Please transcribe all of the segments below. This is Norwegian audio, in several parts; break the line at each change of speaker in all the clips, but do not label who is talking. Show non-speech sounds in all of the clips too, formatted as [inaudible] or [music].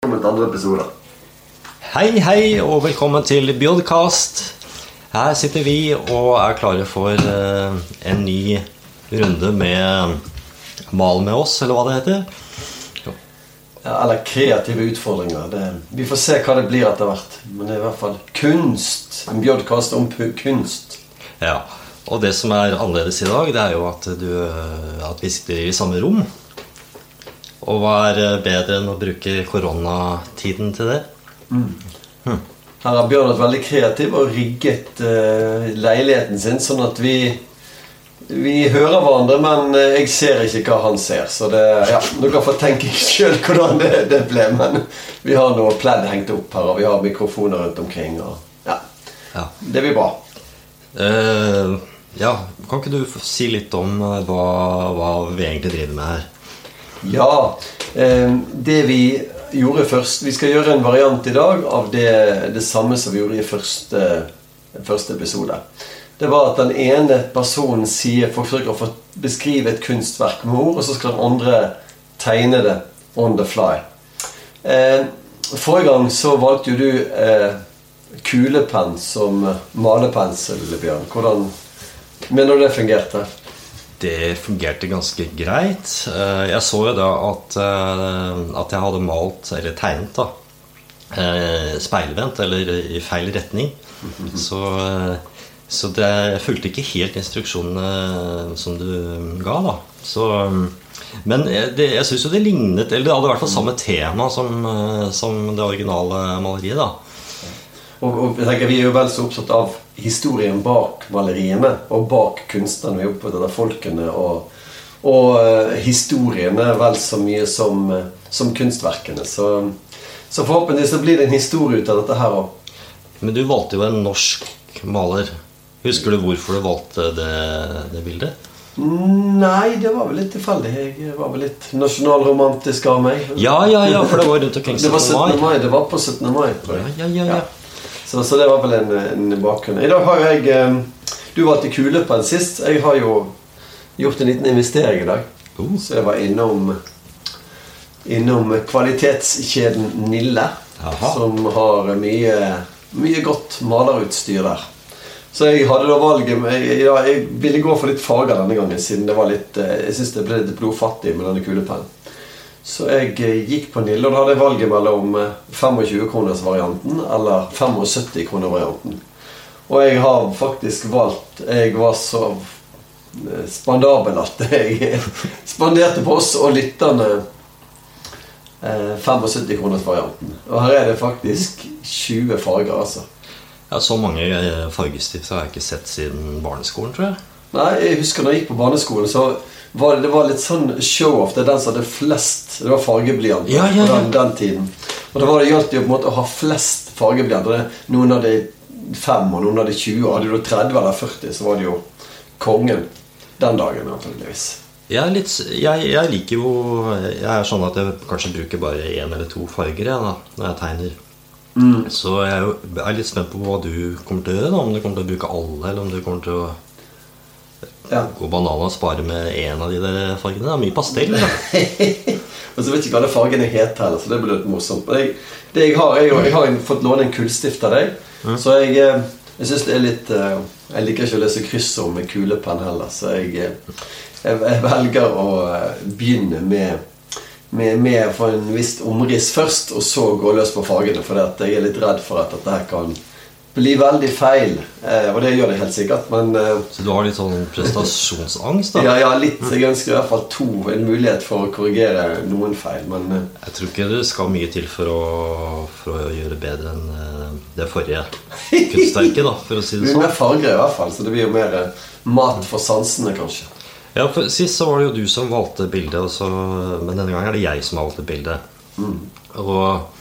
velkommen til andre episoder.
Hei, hei, og velkommen til Bjodcast. Her sitter vi og er klare for eh, en ny runde med Mal med oss, eller hva det heter.
Ja, eller kreative utfordringer. Det, vi får se hva det blir etter hvert. Men det er i hvert fall kunst. En bjodkast om pu- kunst.
Ja, Og det som er annerledes i dag, det er jo at, du, eh, at vi sitter i samme rom. Og hva er eh, bedre enn å bruke koronatiden til det?
Her har Bjørn vært veldig kreativ og rigget eh, leiligheten sin sånn at vi vi hører hverandre, men eh, jeg ser ikke hva han ser. Så det, ja, dere får tenke [laughs] sjøl hvordan det, det ble. Men vi har noe pledd hengt opp her, og vi har mikrofoner rundt omkring. Og, ja,
Ja.
Det blir bra.
Eh, ja, kan ikke du f- si litt om eh, hva, hva vi egentlig driver med her?
Ja. eh, Det vi gjorde først Vi skal gjøre en variant i dag av det, det samme som vi gjorde i første, første episode. Det var at den ene personen sier, forsøker å få beskrive et kunstverk med ord, og så skal den andre tegne det on the fly. Eh, Forrige gang så valgte jo du eh, kulepenn som malepensel, Bjørn. Hvordan mener du det fungerte?
Det fungerte ganske greit. Eh, Jeg så jo da at, eh, at jeg hadde malt, eller tegnet, da eh, speilvendt, eller i feil retning. Så, eh, så det fulgte ikke helt instruksjonene eh, som du mm, ga, da. Så, eh, men jeg- det, jeg syns jo det lignet Eller det hadde i hvert fall samme tema som, eh, som det originale maleriet, da.
Og, og jeg tenker, Vi er jo vel så opptatt av historien bak maleriene og bak kunstnerne. Vi er opptatt av folkene og, og eh, historiene vel så mye som, eh, som kunstverkene. Så, så forhåpentligvis så blir det en historie ut av dette her òg.
Men du valgte jo en norsk maler. Husker du hvorfor du valgte det, det bildet?
Nei, det var vel litt tilfeldig. Jeg var vel litt nasjonalromantisk av meg.
Ja, ja, ja, for det var rundt omkring
Det var
17. mai.
17. mai. Det var på 17. mai. tror jeg.
Ja, ja, ja, ja.
Så, så det var vel en, en bakgrunn. I dag har jo jeg eh, Du valgte kulepenn sist. Jeg har jo gjort en liten investering i dag.
Oh.
Så jeg var innom Innom kvalitetskjeden Nille.
Jaha.
Som har mye, mye godt malerutstyr der. Så jeg hadde da valget med, jeg, ja, jeg ville gå for litt farger denne gangen, siden det var litt eh, Jeg syns det ble litt blodfattig med denne kulepennen. Så jeg eh, gikk på Nille, og da hadde jeg valget mellom eh, 25-kronersvarianten eller 75-kronervarianten. Og jeg har faktisk valgt Jeg var så eh, spandabel at [laughs] jeg spanderte på oss og lytterne eh, 75-kronersvarianten. Og her er det faktisk 20 farger, altså.
Ja, så mange eh, fargestifter har jeg ikke sett siden barneskolen, tror jeg.
Nei, jeg husker når jeg gikk på barneskolen, så var det, det var litt sånn show-off. Det er den som hadde flest Det var fargeblyanter
Ja, ja, ja.
på den, den tiden. Og da var det gjaldt jo på en måte å ha flest fargeblyanter. Det- Noen hadde fem, og noen hadde 20. Og hadde du 30 eller 40, så var det jo kongen den dagen, antakeligvis.
Jeg, er litt, s- jeg, jeg liker jo Jeg er sånn at jeg kanskje bruker bare én eller to farger jeg, da, når jeg tegner. Så jeg er, jo, er litt spent på hva du kommer til å gjøre. da Om du kommer til å bruke alle, eller om du kommer til å
Ja.
gå banan og spare med én av de der fargene. Det er mye pastell. da
[laughs] Og så vet jeg ikke hva det fargene heter heller, så det blir litt morsomt. Men jeg, det jeg har, jeg, jeg har en- fått låne en kullstift av deg, så jeg, eh, jeg syns det er litt eh, Jeg liker ikke å lese kryssord med kulepenn heller, så jeg, eh, jeg, jeg velger å eh, begynne med med, med å få en visst omriss først, og så gå løs på fargene. For jeg er litt redd for at dette her kan bli veldig feil. Eh, og det gjør det helt sikkert, men eh,
Så du har litt sånn prestasjonsangst. da
ja, ja, litt. Jeg ønsker i hvert fall to. En mulighet for å korrigere noen feil. Men eh,
Jeg tror ikke det skal mye til for å, for å gjøre bedre enn eh, det forrige kunstverket, da, for å si
[laughs] Det
det
blir
sånn.
mer farger i hvert fall, så det blir jo mer eh, mat for sansene, kanskje.
Ja, for Sist så var det jo du som valgte bildet, og så, men denne gangen er det jeg som har valgt bildet. Mm. Og,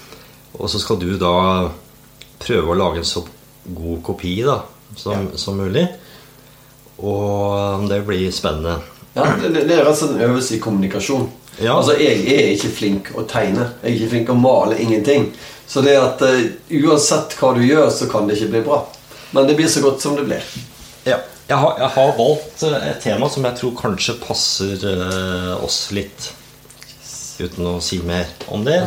og så skal du da prøve å lage en så god kopi da, som, som mulig. Og det blir spennende.
Ja, det, det- det er rett og slett en øvelse i kommunikasjon.
Ja.
Altså, Jeg er ikke flink å tegne. Jeg er ikke flink å male ingenting. Så det at eh, uansett hva du gjør, så kan det ikke bli bra. Men det blir så godt som det blir.
Ja. Jeg har, jeg har valgt eh, et tema som jeg tror kanskje [laughs] passer eh, oss litt. Uten å si mer om det.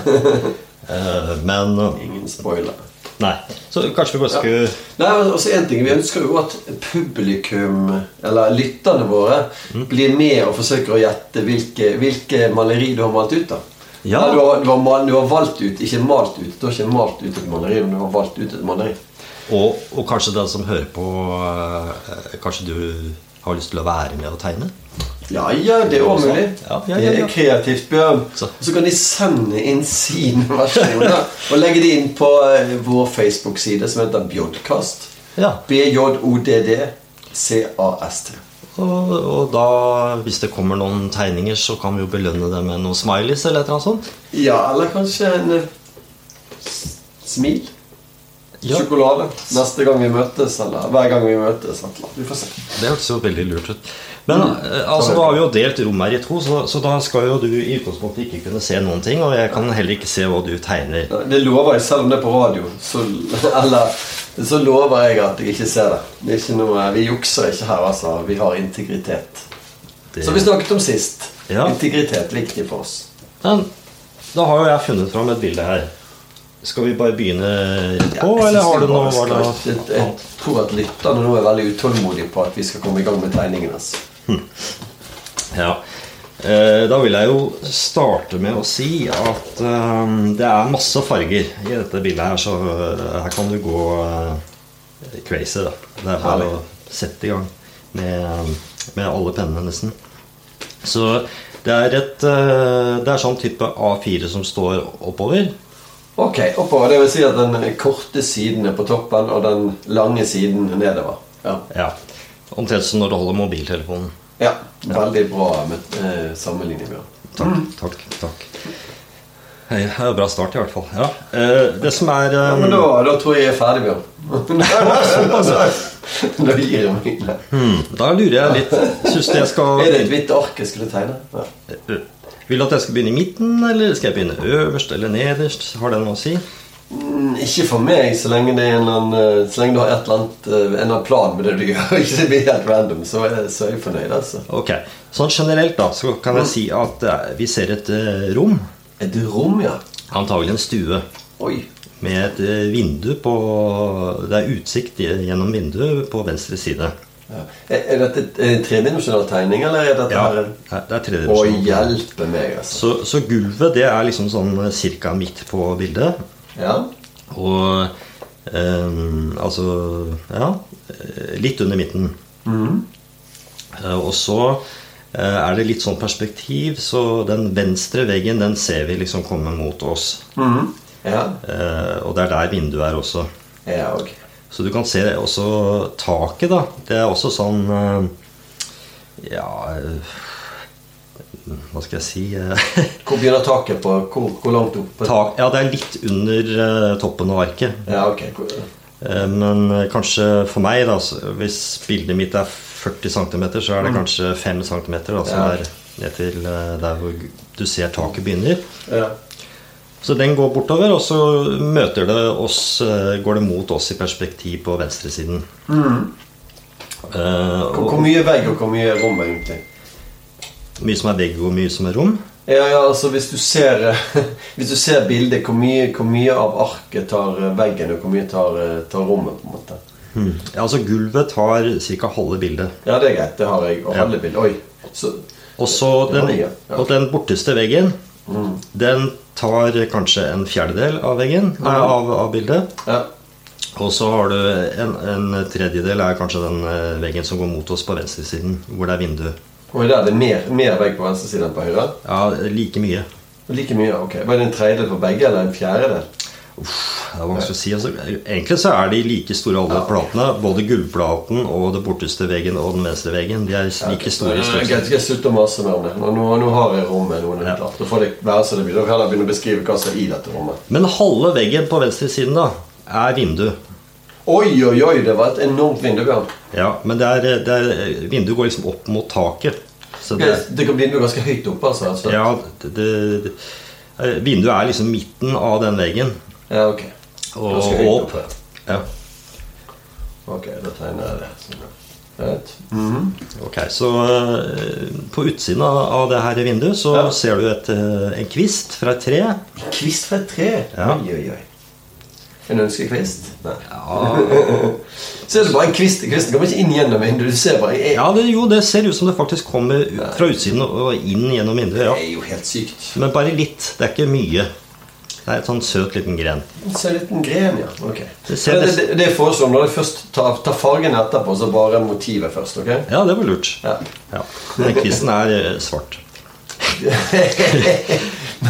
Eh, Men
Ingen spoiler.
Nei. Så kanskje vi bare skulle
Nei, men også en ting, Vi ønsker jo at publikum, eller lytterne våre,
Mm.
blir med og forsøker å gjette hvilke, hvilke maleri du har malt ut. da.
Ja.
Nei, Du, har, du, har mal, du har valgt ut, ikke malt ut. Du har ikke malt ut et maleri, men du har valgt ut et maleri.
Og, og kanskje den som hører på, eh, kanskje du har lyst til å være med og tegne?
Ja, ja, det er også mulig.
Ja, ja, ja, ja.
Det er kreativt, Bjørn.
Så.
Så kan de sende inn sine versjoner og legge de inn på eh, vår Facebook-side som heter Bjodcast.
Ja.
B-J-O-D-D-C-A-S-T.
Og, og da, hvis det kommer noen tegninger, så kan vi jo belønne det med noen smileys eller et eller annet sånt.
Ja, eller kanskje en eh, s- smil?
Ja.
Sjokolade neste gang vi møtes, eller hver gang vi møtes. et eller annet. Vi får se.
Det hørtes jo veldig lurt ut. Men
Mm.
eh, altså, nå har vi jo delt rom her i to, så, så da skal jo du i utgangspunktet ikke kunne se noen ting. Og jeg kan heller ikke se hva du tegner.
Det lover jeg, selv om det er på radio. Så, [laughs] eller, så lover jeg at jeg ikke ser det. det er ikke noe, vi jukser ikke her, altså. Vi har integritet.
Det-
Som vi snakket om sist.
Ja.
Integritet er viktig for oss.
Men da har jo jeg funnet fram et bilde her. Skal vi bare begynne rett på,
jeg
eller
synes
har
vi bare
du noe var
skal- jeg,
det
jeg tror at lytterne nå er veldig utålmodige på at vi skal komme i gang med altså. tegningen hans.
Ja. Eh, Da vil jeg jo starte med å si at eh, det er masse farger i dette bildet her, så eh, her kan du gå eh, crazy, da. Det er bare
Herlig.
å sette i gang med, med alle pennene, nesten. Så det er et eh, Det er sånn type A4 som står oppover.
Ok, oppover. Det vil si at den korte siden er på toppen, og den lange siden er nedover. Ja.
Ja. Omtrent som når du holder mobiltelefonen.
ja veldig bra med, eh, sammenligning, Bjørn.
Takk, takk, takk. Hei, det er en bra start, i hvert fall. Ja. eh, Det som er eh,
Ja, men da, da tror jeg jeg er ferdig, Bjørn. [laughs] da gir jeg meg.
Hmm, Da lurer jeg litt. Syns du jeg skal
[laughs] Er det et hvitt ark jeg skulle tegne? Ja.
Vil du at jeg skal begynne i midten, eller skal jeg begynne øverst eller nederst? Har det noe å si?
Mm, Ikke for meg, så lenge, det er en eller annen, eh, så lenge du har et eller annet, eh, en eller annen plan med det du gjør. [laughs] Ikke det blir helt random, så er, så er jeg fornøyd. altså.
Ok, Sånn generelt da, så kan jeg si at eh, vi ser et eh, rom,
Et rom, ja.
antagelig en stue,
Oi.
med et eh, vindu på Det er utsikt i- gjennom vinduet på venstre side.
Ja. Er, er dette et- en tredimensjonal tegning, eller er dette
Ja,
her en-
Det er
Å
tredimensjonalt.
hjelpe meg, altså.
Så, så gulvet det er liksom sånn eh, cirka midt på bildet.
Ja.
Og ehm, altså Ja, eh, litt under midten. Eh, og så eh, er det litt sånn perspektiv, så den venstre veggen den ser vi liksom komme mot oss.
Mhm. Ja.
Eh, og det er der vinduet er også.
Ja, ok.
Så du kan se også taket, da. Det er også sånn eh, Ja eh, Hva skal jeg si eh, [laughs]
Hvor begynner taket på? Hvor, hvor langt opp?
tak, Ja, det er litt under eh, toppen av arket.
Ja, ok. Hvor,
Eh, Men eh, kanskje for meg, da, så hvis bildet mitt er 40 cm, så er det kanskje 5 cm da,
Mm.
som
Ja.
er ned til eh, der hvor du ser taket begynner.
ja.
Så den går bortover, og så møter det oss, eh, går det mot oss i perspektiv på venstresiden.
Mm.
Eh,
hvor, hvor mye vegg og hvor mye rom, egentlig?
og mye som er vegg, og mye som er rom.
Ja, ja, altså Hvis du ser, [laughs] hvis du ser bildet, hvor mye, hvor mye av arket tar eh, veggen, og hvor mye tar, eh, tar rommet? på en måte? Mm.
Ja, altså Gulvet tar ca. halve bildet.
Ja, det er greit. Det har jeg. Og
Ja.
alle bilder. Oi. Så,
Og så
Det var
den,
mye, ja. Mm.
og den borteste veggen, den tar kanskje en fjerdedel av veggen, nei, av, av bildet.
ja.
Og så har du en, en tredjedel er kanskje den eh, veggen som går mot oss på venstresiden, hvor det er vindu.
Og der er det mer, mer vegg på venstre side enn på høyre?
Ja, like mye.
Like mye, ok. Var det en tredjedel på begge, eller en fjerdedel?
Det er vanskelig å si. Altså, egentlig så er de like store alle platene. Både gulvplaten og den borteste veggen og den venstre veggen. De er like store i
Jeg
størrelse.
skal jeg slutte å mase mer om det. Nå, nå, nå har jeg rommet noe ja. klart. Da får det være som det blir. Da kan jeg begynne å beskrive hva som er i dette rommet.
Men halve veggen på venstresiden da, er vindu.
Oi, oi, oi! Det var et enormt vindu. Bjørn.
Ja, men det er, det er, vinduet går liksom opp mot taket. Så
Det,
det,
det kan bli noe ganske høyt oppe, altså. rett og slett.
ja, det, det, eh, vinduet er liksom midten av den veggen.
ja ok.
Og
Ganske høyt
opp.
oppe.
Ja.
Ok, da tegner jeg det. Sånn, ja. Mhm. Right.
Ok, Så eh, på utsiden av, av det her vinduet så
Ja.
ser du et, eh, en kvist fra et tre.
Kvist fra et tre?
Ja.
Oi, oi, oi. En ønskekvist? Nei.
Ja,
Så er det bare en kvist. Kvisten kommer ikke inn gjennom vinduet. Du ser bare jeg,
ja det, Jo, det ser ut som det faktisk kommer ut fra utsiden og- og inn gjennom vinduet.
Det
ja
er jo helt sykt.
Men bare litt. Det er ikke mye. Det er et sånn søt liten gren.
Så en liten gren, ja. Ok.
Det
Det,
ser
det,
nesten-
det, jeg foreslår når du først tar, tar fargen etterpå, så bare motivet først. ok?
Ja, det var lurt.
Ja. [laughs]
Ja. Men kvisten er eh, svart.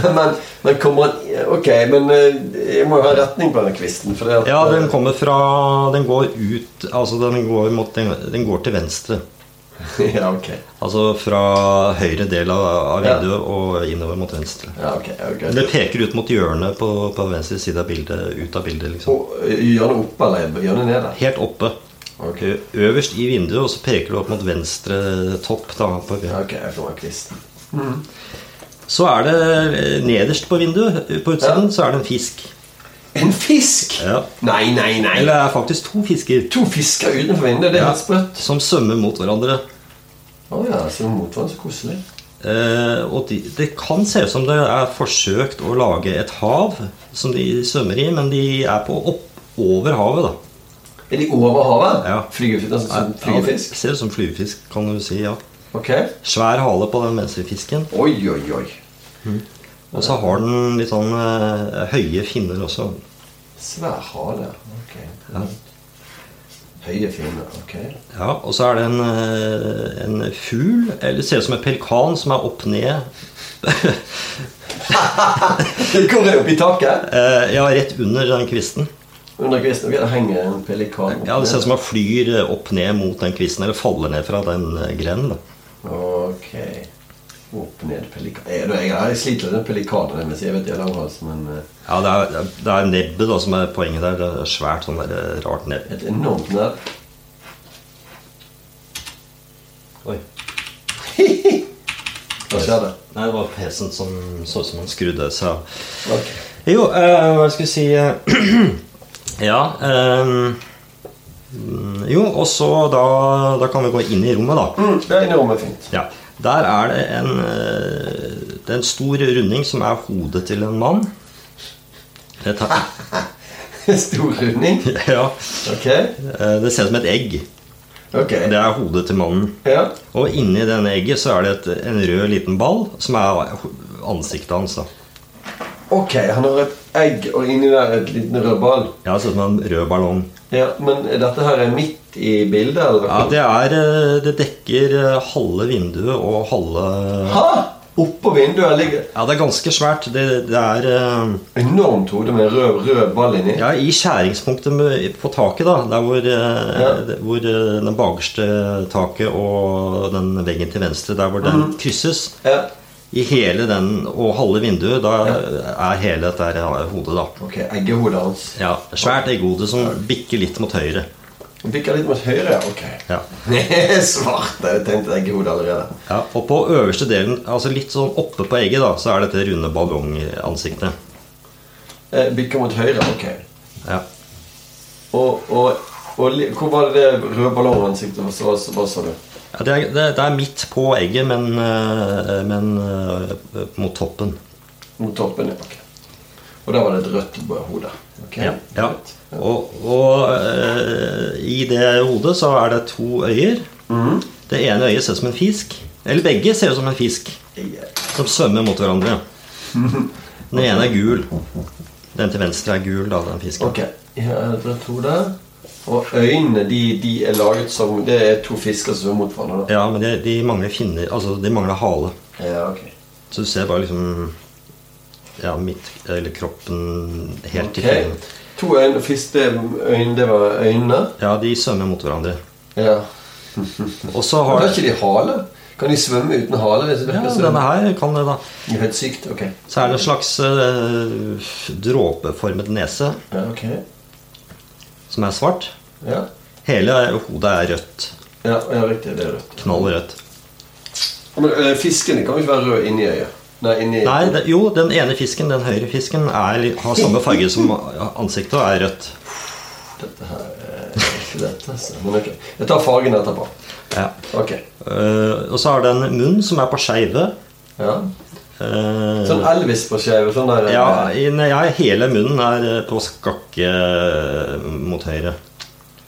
men, men, men kommer han Ok, men eh, jeg må jo ha retning på denne kvisten. For det at, eh,
Ja, den kommer fra Den går ut Altså, den går, mot, den, den går til venstre.
[laughs] ja, ok.
Altså fra høyre del av, av
Ja.
vinduet og innover mot venstre.
Ja, ok, ja,
Men
greit.
Det peker ut mot hjørnet på, på venstre side av bildet. Ut av bildet, liksom.
Og, eh, Gjør det opp eller gjør det ned? da?
Helt oppe.
Ok.
Ø- Øverst i vinduet, og så peker du opp mot venstre topp. Da, på,
Ja, ok, jeg får meg kvist.
Så er det eh, nederst på vinduet, eh, på
Ja.
utsiden, så er det en fisk.
En fisk!
Ja.
Nei, nei, nei.
Eller det er faktisk to fisker
To fisker utenfor vinduet, det er
Ja.
helt sprøtt.
som svømmer mot hverandre.
Å ja, så motvann, så koselig.
Eh, og de, det kan se ut som det er forsøkt å lage et hav som de svømmer i, men de er på opp over havet, da.
Er de over havet?
Ja.
Flyger, altså, som
Ja, det
flygefisk?
ser ut som flygefisk, kan du si. ja.
Ok.
Svær hale på den venstre fisken.
Oi, oi, oi.
Og så har den litt sånn eh, høye finner også.
Svær hale. Ok.
Ja.
Høye finner. Ok. [laughs]
Ja, Og så er det en, eh, en fugl, eller ser ut som en pelikan, som er opp ned. [laughs]
Det kommer opp i taket.
Eh, ja, rett under den kvisten.
Under kvisten ok, der henger en pelikan. opp
Ja, Det ser ut
ned.
som han flyr eh, opp ned mot den kvisten, eller faller ned fra den eh, grenen. da.
Ok. Opp ned pelikan. Jeg, jeg, jeg sliter litt med pelikaner, men jeg vet det er langhals, men eh,
Ja, Det er, det er nebbet da, som er poenget der. Det er svært sånn der, eh, rart nebb.
et enormt nebb.
Oi.
Hva skjer det?
Nei, det var PC-en som så ut som han skrudde seg av.
Ok.
Jo, eh, hva skal jeg si eh, [clears throat] Ja eh, mm, Jo, og så da, da kan vi gå inn i rommet, da.
Mm, det er enormt fint. [laughs]
Ja, Der er det en, eh, det er en stor runding som er hodet til en mann. Det, tar, [laughs]
Stor runding.
ja,
Ok.
eh, det ser ut som et egg.
Ok.
Det er hodet til mannen.
Ja.
Og inni denne egget så er det et, en rød liten ball som er ho- ansiktet hans. da.
Ok, han har et egg, og inni der et liten rød ball.
Ja, Det ser ut som en rød ballong.
Ja, men er dette her er midt i bildet, eller?
Ja, Det, er, eh, det dekker eh, halve vinduet og halve
Ha! Oppå vinduet ligger
Ja, det er ganske svært. Det, det er eh,
enormt hode med rød, rød ball inni.
ja, i skjæringspunktet med- på taket, da. Der hvor, eh,
Ja.
det- hvor eh, den bakerste taket og den veggen til venstre, der hvor den krysses.
Ja.
I hele den og halve vinduet, da er hele dette her eh, hodet, da.
Ok, eggehodet hans.
Ja, Svært egghode som bikker litt mot høyre.
Han bikker litt mot høyre, ok. [laughs]
Ja.
Svart, jeg tenkte eggehodet allerede.
Ja, og på øverste delen, altså litt sånn oppe på egget, da, så er dette runde ballongansiktet.
Eh, bikker mot høyre, ok.
Ja.
Og, og, og li- hvor var det det røde ballongansiktet var, så, så, hva sa du?
Ja, det, er, det, det er midt på egget, men, eh, men eh, mot toppen.
Mot toppen, ja, ok. Og der var det et rødt b- hode. Ok.
Ja. ja. Og, og eh, i det hodet så er det to øyer.
Mm-hmm.
Det ene øyet ser ut som en fisk. Eller begge ser ut som en fisk
Jeg-
som svømmer mot hverandre.
Mm-hmm.
Den ene er gul. Den til venstre er gul, da, den fisken.
Ok, jeg har et rødt hode. Og øynene, de, de er laget som Det er to fisker som er mot hverandre. da.
Ja, men de, de mangler finner Altså, de mangler hale.
Ja, ok.
Så du ser bare liksom Ja, midt Eller kroppen helt
Ok.
til fingrene.
To øyne, første øyne, det var øynene.
Ja, de svømmer mot hverandre.
Ja.
Og så
Har
har
ikke de hale? Kan de svømme uten hale? Det
Ja,
virker som
denne her kan det, da.
Det er helt sykt. Ok.
Så er det en slags eh, dråpeformet nese
Ja, ok.
som er svart.
Ja,
Hele hodet er rødt.
ja, ja riktig. Det er rødt.
Knallrødt.
Men ø, fiskene kan jo ikke være røde inni øyet. Nei, inni
Nei, det, jo, den ene fisken, den høyre fisken, er, har samme farge som ansiktet og er rødt.
Dette her
dette. Så.
Men ok, Jeg tar fargen etterpå.
Ja.
Ok.
Eh, og så er det en munn som er på skeive.
Ja.
Eh,
Sånn Elvis på skeive. Sånn der,
ja, i- nei, ja, hele munnen er eh, på skakke eh, mot høyre.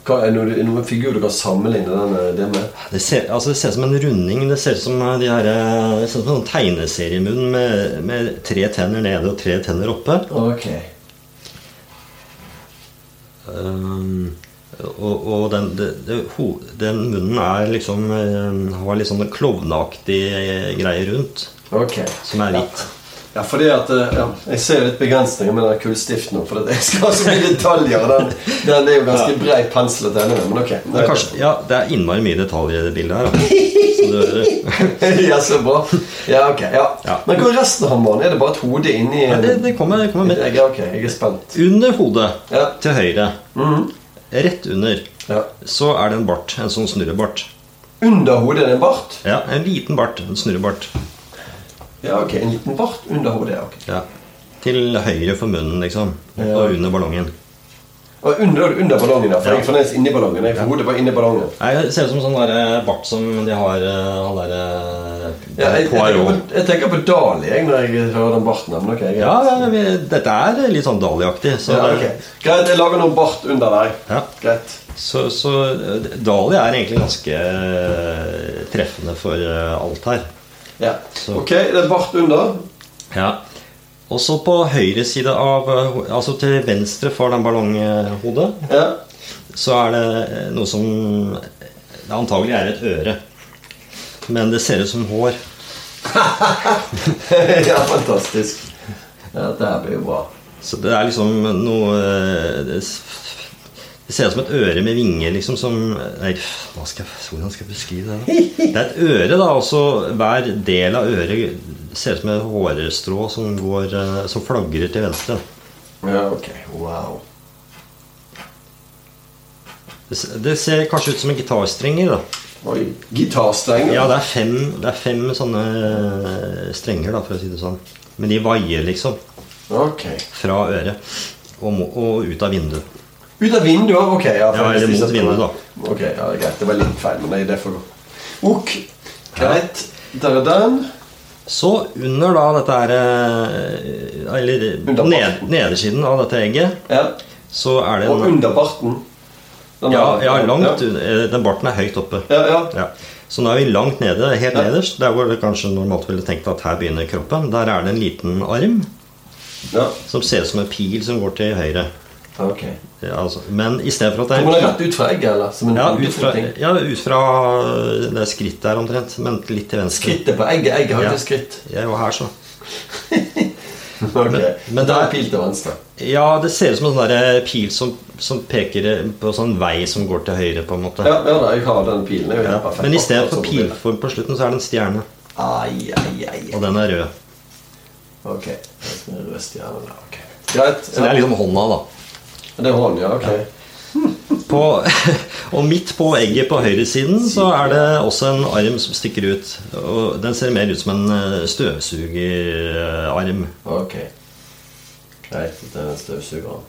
Hva er noe, er noen figur du kan sammenligne den, eh, det med?
Det ser, altså det ser ut som en runding. Det ser ut som eh, de her, eh, det ser ut som en sånn tegneseriemunn med, med tre tenner nede og tre tenner oppe.
Ok.
Ehm, og og den, det, det, ho, den munnen er liksom eh, har litt sånn klovneaktig eh, greie rundt,
Ok.
som er hvitt.
Ja, fordi at eh, ja, Jeg ser jo litt begrensninger med den kullstiften. nå, For at jeg skal ha så mye detaljer. og Den, den er jo ganske brei pensel å tegne med. Men ok.
Det er,
[laughs]
kanskje, ja, det er innmari mye detaljer i det bildet her. da. Så det,
ja, så bra. Ja, ok. Ja.
Ja.
Men hvor er resten av mannen? Er det bare et hode inni
ja, det, det kommer, det kommer med.
Jeg, ok, jeg er spent.
Under hodet,
Ja. Mhm.
til høyre, rett under,
Ja.
så er det en bart. En sånn snurrebart.
Under hodet er det en bart?
Ja, en liten bart. En snurrebart.
Ja, ok. En liten bart under hodet. ja, ok.
Ja. Til høyre for munnen, liksom.
Ja.
Og under ballongen.
Og under, under ballongen, ja. For
Ja.
jeg er fornøyd inni ballongen. Jeg får hodet bare inni ballongen.
Nei, det ser ut som sånn der bart som de har eh, Han derre
Ja, jeg, jeg, tenker
Poirot.
på, jeg tenker på Dali jeg, når jeg hører den barten. Men ok, greit.
Ja, ja, vi, dette er litt sånn Dali-aktig. Så,
Ja, ok. Greit, jeg lager noen bart under der.
Ja.
Greit.
så, så eh, Dali er egentlig ganske eh, treffende for eh, alt her.
Ja.
Så-
Ok, det er bart under.
Ja. Og så på høyre side av eh, ho- Altså til venstre for den ballonghodet,
Ja.
så er det eh, noe som Det antagelig er et øre. Men det ser ut som hår.
[laughs] ja, fantastisk. Ja, Dette her blir jo bra.
Så det er liksom noe eh, Det s- det ser ut som et øre med vinger, liksom, som Nei, f- hva skal, jeg- hvordan skal jeg beskrive det? da? Det er et øre, da, og så hver del av øret ser ut som et hårstrå som, går, eh, som flagrer til venstre.
Ja, ok. Wow.
Det s- Det ser kanskje ut som en gitarstrenger, da.
Oi. Gitarstrenger.
Ja, det er fem, det er fem sånne eh, strenger, da, for å si det sånn. Men de vaier, liksom.
Ok.
Fra øret og, må- og ut av vinduet.
Ut av vinduet? Ok. Ja, for
Ja,
jeg visste
eller mot
ikke at-
vinduet, da.
Ok, ja, det er greit. Det var litt feil, men det- det får gå. Ok. Greit. Der er den.
Så under da dette her eh, Eller
Under
på ned,
barten.
nedersiden av dette egget,
Ja.
så er det
Og
en
under barten. Den
Ja,
der.
ja langt
Ja.
under. eh, Den barten er høyt oppe.
Ja, ja.
Ja. Så nå er vi langt nede, helt
Ja.
nederst. Der hvor det kanskje normalt ville tenkt at her begynner kroppen. Der er det en liten arm
ja.
som ser ut som en pil som går til høyre.
Ok.
Ja, Altså, men istedenfor at det
Kommer den
er
rett ut fra egget, eller? Som en
ja, ut fra,
utfoting?
ja, ut fra det skrittet her omtrent, men litt til venstre.
Skrittet på egget. Egget har
Ja.
ikke skritt.
Jeg var her, så.
Ok. der
men der-
er pil til venstre.
Ja, det ser ut som en sånn der pil som, som peker på en sånn vei som går til høyre. på en måte
Ja, ja da, jeg har den pilen. Det er jo
Ja,
helt perfekt.
Men i stedet for
Akkurat som på
pilform på slutten, så er det en stjerne.
bildet. Ai, ai, ai.
Og den er rød.
Ok. Rød stjerne der. Ok. Greit.
Så det er liksom hånda, da.
Det er hånd, ja. Ok.
På, [laughs] og midt på egget på høyresiden så er det også en arm som stikker ut. Og den ser mer ut som en eh, støvsugerarm.
Ok. Greit. Det er en støvsuger.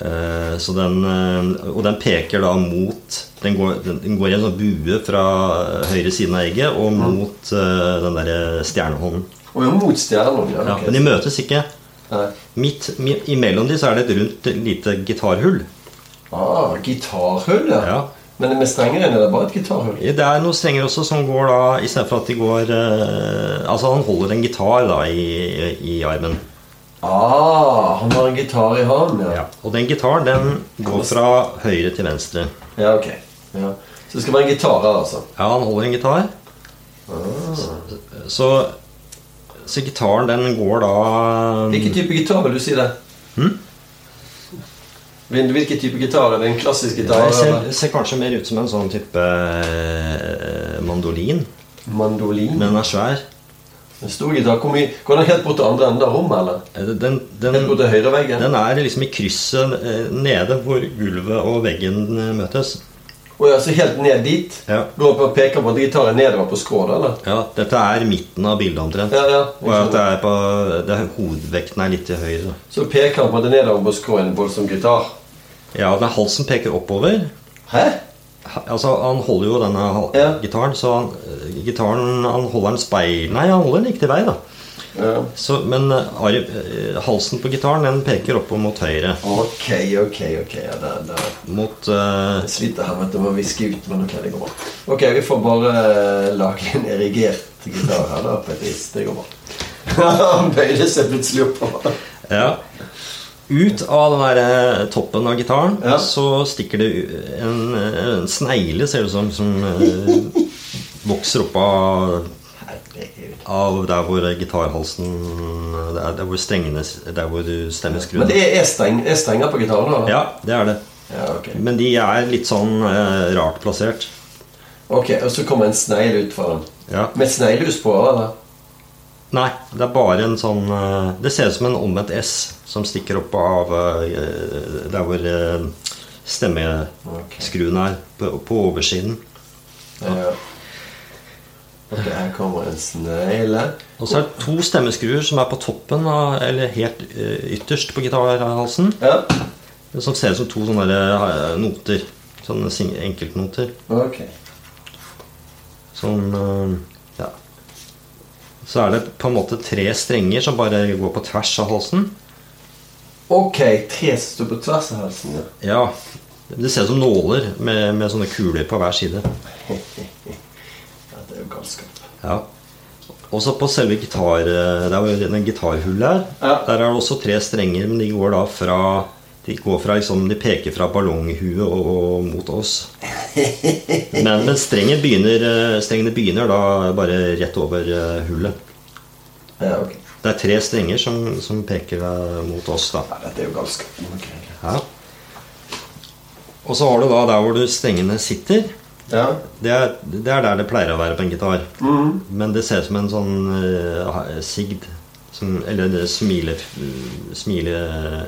Eh, Så den, eh, og den peker da mot Den går, den den går i en sånn bue fra eh, høyre siden av egget og mot eh, den derre stjernehånden.
Og jo, mot stjernen. Ja,
Ja,
ok.
men de møtes ikke.
Nei.
Midt mi- imellom de så er det et rundt lite gitarhull.
Ah, gitarhull, ja.
Ja.
Men med strenger inni, det er bare et gitarhull.
Eh, Det er noen strenger også som går da Istedenfor at de går eh, Altså, han holder en gitar da i, i armen.
Ah, han har en gitar i hånden, ja. ja.
Og den gitaren, den går fra høyre til venstre.
ok. Ja. Så det skal være en gitar her, altså. Ah.
Ja, han holder en gitar. Så, så gitaren, den går da
Hvilken type gitar vil du si det?
Hm?
Hvil- Hvilken type gitar? Er det en klassisk gitar?
eh, Det ser,
eller?
ser kanskje mer ut som en sånn type eh, mandolin,
Mandolin?
men den er svær.
En stor gitar. Hvor mye- Går den helt bort til andre enden av rommet, eller?
Eh, Den,
Helt
den,
bort til høyre veggen?
Den er liksom i krysset eh, nede hvor gulvet og veggen eh, møtes.
Å ja, så helt ned dit?
Ja.
Går opp og peker på at gitaren er nedover på skrådet, eller?
Ja, Dette er midten av bildet omtrent.
Ja, ja.
Og at det er på, det er, hovedvekten er litt til høyre.
Så peker han på at det er nedover på skrået i en voldsom gitar.
Ja, det er halsen peker oppover.
Hæ?
Altså, Han holder jo denne hal-
Ja.
gitaren, så han, eh, gitaren han holder den speil... Nei, han holder den riktig vei, da.
Ja.
Så, men eh, arv, eh, halsen på gitaren den peker opp mot høyre.
Ok, ok, ok. Ja, det, det.
Mot eh,
Jeg sliter her med å viske ut, men ok, det går bra. Ok, vi får bare eh, lage en erigert gitar her, da, på et vis. Det går bra. [laughs] Han bøyde seg plutselig oppover.
Ja. Ut av den der eh, toppen av gitaren
Ja.
så stikker det u- en, en snegle, ser det ut som, som eh, vokser opp av,
Herregud.
av der hvor gitarhalsen Det er der hvor strengene s- Der hvor du stemmer
Men
skruen.
det er, er, streng, er strenger på gitaren, da?
Ja, det er det.
ja ok.
Men de er litt sånn eh, rart plassert.
Ok, og så kommer en snegl ut fra den.
Ja.
Med sneglehus på, eller?
Nei, det er bare en sånn eh, Det ser ut som en omvendt S som stikker opp av eh, der hvor eh, stemmeskruen er, på, på oversiden.
Ja. Ok, her kommer en snegle.
Og så er det to stemmeskruer som er på toppen, av, eller helt eh, ytterst på gitarhalsen.
Ja,
Som ser ut som to sånne der, eh, noter. Sånne sing- enkeltnoter.
ok.
Sånn eh, Ja. Så er det på en måte tre strenger som bare går på tvers av halsen.
Ok, tre står på tvers av halsen, ja.
Ja. Det ser ut som nåler med, med sånne kuler på hver side.
ja. Det er jo galskap.
Ja. Også på selve gitar, eh, der hvor den gitarhullet er,
Ja.
der er det også tre strenger, men de går da fra De, går fra, liksom, de peker fra ballonghuet og, og mot oss. Men, men strengen begynner, eh, strengene begynner da bare rett over eh, hullet.
Ja, ok.
Det er tre strenger som, som peker eh, mot oss, da.
Ja, dette er jo galskap. Ok.
Ja. Og så har du da der hvor du strengene sitter.
Ja. Mhm.
Det er, det er der det pleier å være på en gitar. Men det ser ut som en sånn eh, sigd. Som, eller det smile, smile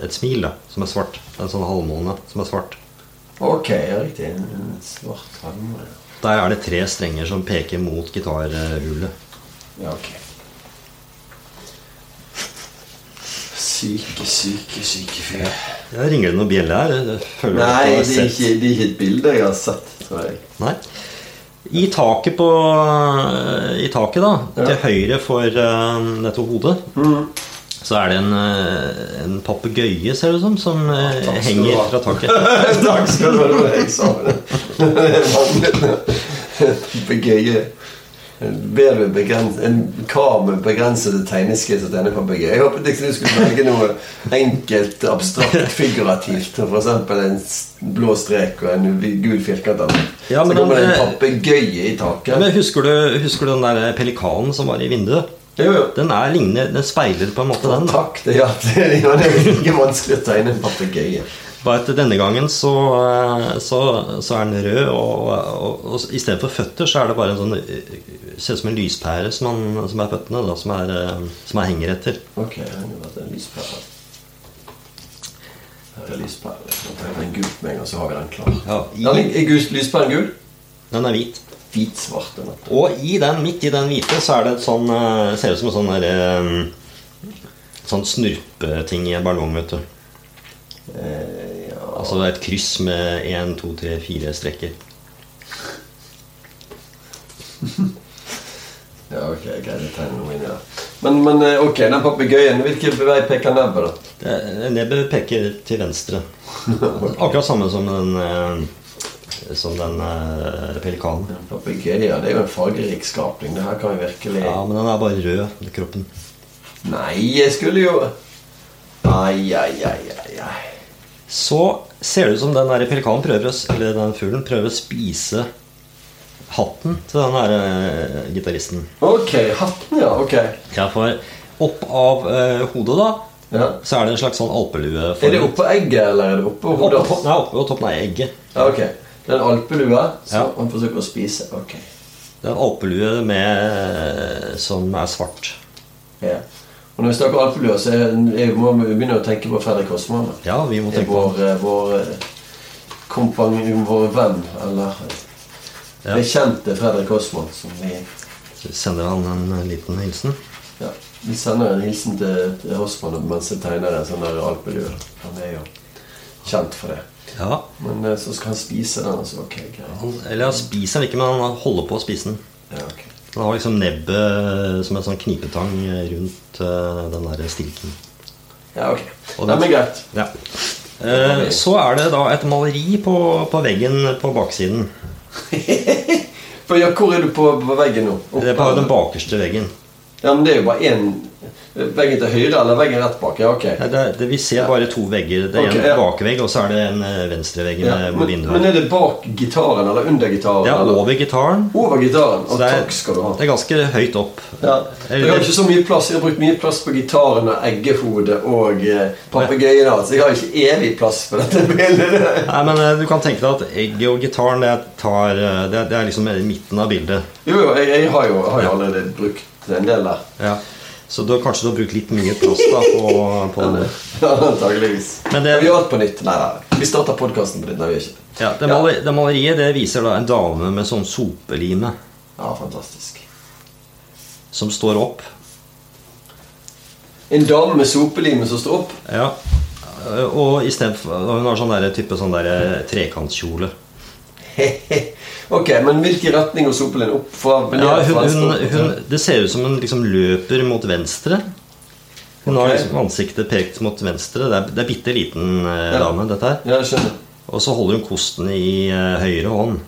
Et smil, da, som er svart. En sånn halvmåne som er svart.
Ok, ja, riktig. En- en Svart halme.
Der er det tre strenger som peker mot gitarhullet.
Ja, ok. Syke, syke, syke fyr.
Ja, ringer det noen bjelle her? Jeg Føler at jeg
Nei,
har
det er,
sett-
ikke, det er ikke et bilde jeg har sett, tror jeg.
Nei. I taket, på, I taket, da,
Ja.
til høyre for eh, dette hodet,
Mm.
så er det en, eh, en papegøye, ser det ut som, som eh,
Ah, takk skal du
henger
ha.
fra
[laughs]
taket.
Takk skal du ha, det var det [laughs] jeg sa. Begøye. Ber du begrense, en kar med begrensede tegneskill som tegner på begøye? Jeg håpet ikke du skulle velge noe enkelt, abstrakt, figurativt. F.eks. en s- blå strek og en vi- gul firkant. eller noe.
Ja,
Så
men
kommer det en
han- eh,
papegøye i
Ja,
taket.
men husker du, husker du den der pelikanen som var i vinduet?
Jo, jo.
Den er lignende, den speiler på en måte den. da.
Takk, det hjalp. Det var ikke vanskelig å tegne en papegøye.
Bare at denne gangen så, eh, så, så er den rød, og, og, og, og istedenfor føtter så er det bare en sånn eh, Ser ut som en lyspære som, han, som er føttene, da, som er, eh, som er henger etter.
Ok, det har vært en lyspære. Her er lyspære. Nå tar jeg den gult med en gang, så har vi den klar.
Ja, i-
Ja, men er gus- lyspæren gul?
Den er hvit.
Hvit-svart. den er.
Og i den, midt i den hvite så er det et sånn eh, Ser ut som en sånn derre Sånn snurpeting i en ballong, vet du.
Eh, ja.
Altså det er et kryss med én, to, tre, fire strekker.
ja, ok, jeg greide å tegne noe inn i det. Men, men eh, ok, den papegøyen, hvilken vei peker nebbet, da?
Det er- Nebbet peker til
[laughs]
venstre. Akkurat samme som den, eh, som den eh, pelikanen.
En Papegøye, det er jo en fargerik skapning. Det her kan jo virkelig
Ja, men den er bare rød, i kroppen.
Nei, jeg skulle jo Ai, ai, ai, ai, ai.
Så ser det ut som den der pelikanen prøver å, s- eller den fuglen prøver å spise hatten til den her eh, gitaristen.
Ok, hatten, ja. Ok.
Ja, for opp av eh, hodet, da,
Ja.
så er det en slags sånn alpelue.
Er det oppå egget, eller er det oppå
Opp,
hodet?
opp, nei, opp, på toppen av egget.
Ja, ok. Det er en alpelue som
Ja.
han forsøker å spise. Ok.
Det er en alpelue med, eh, som er svart.
Ja. Og når vi snakker alpelue, så er- jeg må vi begynne å tenke på Fredrik Hossmann. da.
Ja, vi må
Det er
tenke på
vår, eh, vår eh, kompanj- vår venn, eller
Ja.
bekjente Fredrik Hossmann. Som vi,
Så sender han
eh,
en liten hilsen.
ja, vi sender en hilsen til, til Hossmann mens jeg tegner en sånn der alpelue. Han er jo kjent for det.
Ja.
Men eh, så skal han spise den, og så ok, greit.
Han, eller han spiser den ikke, men han holder på å spise den.
Ja, ok.
Han har liksom nebbet som en sånn knipetang rundt eh, den der stilken.
Ja, ok.
Og
Nei,
det-
men greit.
Ja. Eh, Så er det da et maleri på, på veggen på baksiden.
For, ja, hvor er du på, på veggen nå? Opp-
Det er på den bakerste veggen.
Ja, men det er jo bare én Veggen til høyre eller veggen rett bak? Ja, ok.
Nei, Det, det, vi ser bare to vegger. Det er
Ok,
en
ja.
bakvegg, og så er det en eh, venstrevegg
Ja,
med hvor
men,
vinduet
men
er.
er det bak gitaren eller under gitaren?
Det er
eller?
over gitaren.
Over gitaren.
Så
Og
det er,
takk skal du ha.
det er ganske høyt opp.
Ja. Jeg har
Eller-
ikke så mye plass. Jeg har brukt mye plass på gitaren og eggehodet og eh, papegøyen. altså. Så jeg har ikke evig plass for dette [laughs] bildet.
Nei, men eh, Du kan tenke deg at egget og gitaren det, tar, eh, det, det er liksom i midten av bildet.
Jo, jo, jeg, jeg har jo, har jo allerede brukt en del der. [laughs]
Ja. Så du, kanskje du har brukt litt mye plass da på, på det.
Antakeligvis.
Men
Men
det-
Vi gjør alt på nytt. Nei, nei. Vi starter podkasten på nytt. Nei, vi gjør ikke det.
Ja, det, maleri, det maleriet det viser da en dame med sånn sopelime
Ja, fantastisk.
som står opp.
En dame med sopelime som står opp.
Ja. Eh, Og i stedet for, og hun har sånn der, type sånn der eh, trekantkjole.
ok, men hvilken retning går sopelinen opp fra?
Ja,
ned
hun,
fra
hun,
venstre opp?
hun, det ser ut som hun liksom løper mot venstre. Hun har
Ok.
liksom ansiktet pekt mot venstre. Det er, det er bitte liten eh,
Ja.
dame, dette her.
Ja, jeg skjønner.
Og så holder hun kosten i eh, høyre hånd.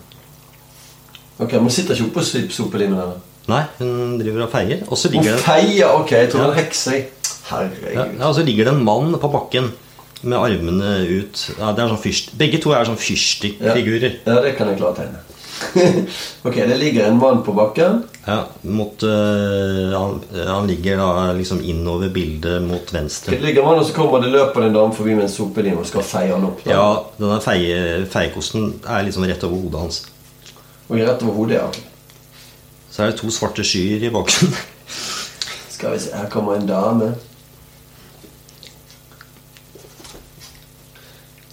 Ok, Men hun sitter ikke oppå sop- sopelinen? eller?
Nei, hun driver og feier. Og så
Hun
ligger, det-
feier. Ok, jeg tror
Ja.
hun er heks, jeg.
ja,
Herregud.
ja, og så ligger det en mann på bakken med armene ut. Ja, det er sånn fyrst, begge to er sånn fyrstikkfigurer.
Ja, det kan jeg klare å tegne. [laughs] ok, det ligger en mann på bakken.
Ja, mot, eh, han, han ligger da liksom innover bildet mot
Det
venstre.
ligger en mann, og så kommer det løpende en dame forbi med en sopelime og skal feie han opp. da.
Ja, denne feie, feiekosten er liksom rett over hodet hans.
Og rett over hodet, ja. ok.
Så er det to svarte skyer i bakgrunnen.
Skal vi se, her kommer en dame.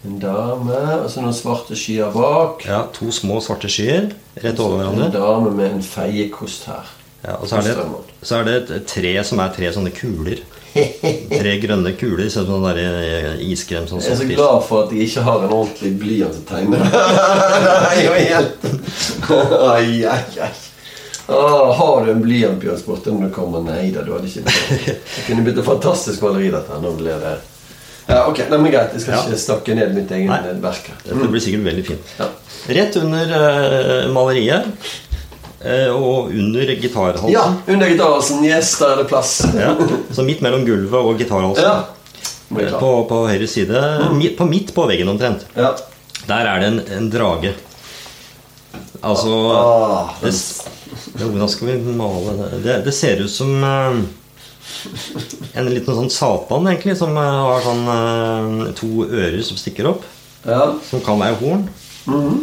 En dame, og så noen svarte skyer bak.
[laughs] Ja, to små svarte skyer rett over
En
hverandre.
dame med en feiekost
[laughs]
her.
Ja, og så er, det, så er det et tre som er tre sånne kuler. Tre grønne kuler, sånn som den der iskrem som
Jeg er så
sånn
glad for at jeg ikke har en ordentlig blyant å
[laughs]
tegne. Nei, jeg er helt- Ai, ai, ai. Ah, har du en blyant, Bjørn? spurte jeg om du kommer. Nei da, du hadde ikke det. Jeg kunne blitt et fantastisk maleri, dette. her, Nå ble det ja, Ok, nei, men greit. Jeg skal
Ja.
ikke snakke ned mitt eget
Nei.
verk her.
Dette blir sikkert veldig fint.
Ja.
Rett under eh, maleriet eh, og under gitarhalsen.
ja, under gitarhalsen. Yes, der er det plass.
Ja, Så midt mellom gulvet og gitarhalsen.
Ja. Må jeg
Eh,
klare.
På, på høyre side.
Mm.
mi- På midt på veggen omtrent.
Ja.
Der er det en, en drage. Altså
Ah,
det, s- ja, Hvordan skal vi male det? Det, det ser ut som eh, en liten sånn satan, egentlig, som eh, har sånn eh, to ører som stikker opp.
ja.
Som kan være horn.
Mhm.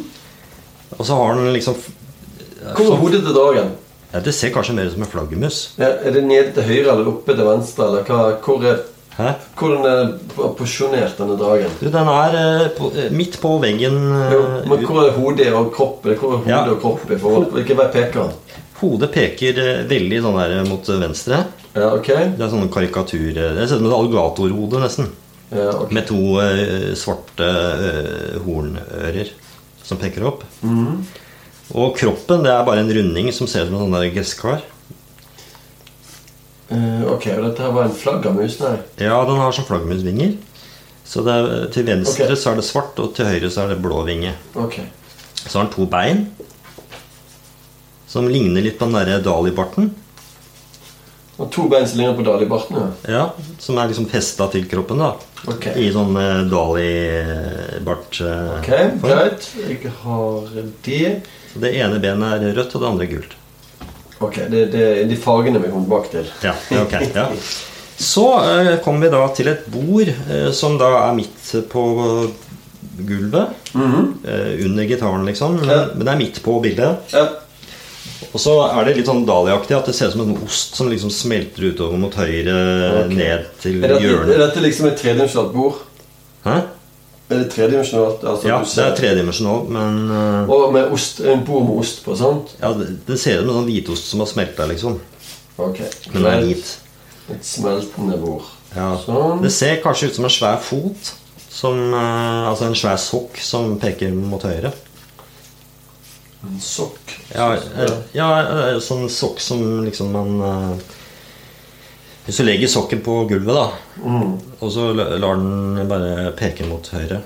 Og så har den liksom
Hvor er hodet til dragen?
ja, Det ser kanskje mer ut som en flaggermus.
Ja, er det nede til høyre eller oppe til venstre? Eller hva, hvor er,
Hæ?
hvordan er posisjonert denne dragen?
Du, den er eh, på, eh, midt på veggen. eh,
Jo, men
ut-
hvor er hodet og kroppen? Hvor er hodet
Ja.
og kroppen i forhold? Hvilken vei peker han?
Hodet peker eh, veldig sånn der mot venstre.
Ja, ok.
Det er sånne karikaturer Det ser ut som et alligatorhode, nesten.
Ja, ok.
Med to eh, svarte eh, hornører som peker opp.
Mm.
Og kroppen det er bare en runding som ser ut som en sånn der gresskar.
Eh, ok, og dette her var en flaggermus, nei?
Ja, den har sånn flaggermusvinger. Så det er, eh, til venstre
Ok.
så er det svart, og til høyre så er det blå vinge.
Ok.
Så har den to bein som ligner litt på den derre dalibarten.
Og to bein som ligner på Dalibarten, ja.
Ja, som er liksom festa til kroppen, da.
Ok.
I sånn eh, dalibart. Eh,
Ok,
form.
greit. Jeg har det.
Så Det ene benet er rødt, og det andre gult.
Ok, det, det er de fargene vi kom bak til.
Ja, ok,
[laughs]
ja. Så eh, kommer vi da til et bord eh, som da er midt på gulvet.
Mhm.
eh, under gitaren, liksom. Men,
Ja.
men det er midt på bildet.
Ja.
Og så er det litt sånn dahliaktig at det ser ut som en ost som liksom smelter utover mot høyre,
Ok.
ned til
Er, dette, er
hjørnet.
dette liksom et tredimensjonalt bord?
Hæ?
Er det tredimensjonalt? Altså,
Ja,
du
det er
ser-
tredimensjonalt, men eh,
Og med ost, en bord med ost på, sant?
Ja, det, det ser ut som en sånn hvitost som har smelta, liksom.
Ok.
Men den er hvit.
Et smeltende bord.
Ja.
Sånn.
Det ser kanskje ut som en svær fot. Som, eh, altså en svær sokk som peker mot høyre.
En sokk.
Ja, eh, ja eh, sånn sokk som liksom man eh, Hvis du legger sokken på gulvet, da,
Mm.
og så la- lar den bare peke mot høyre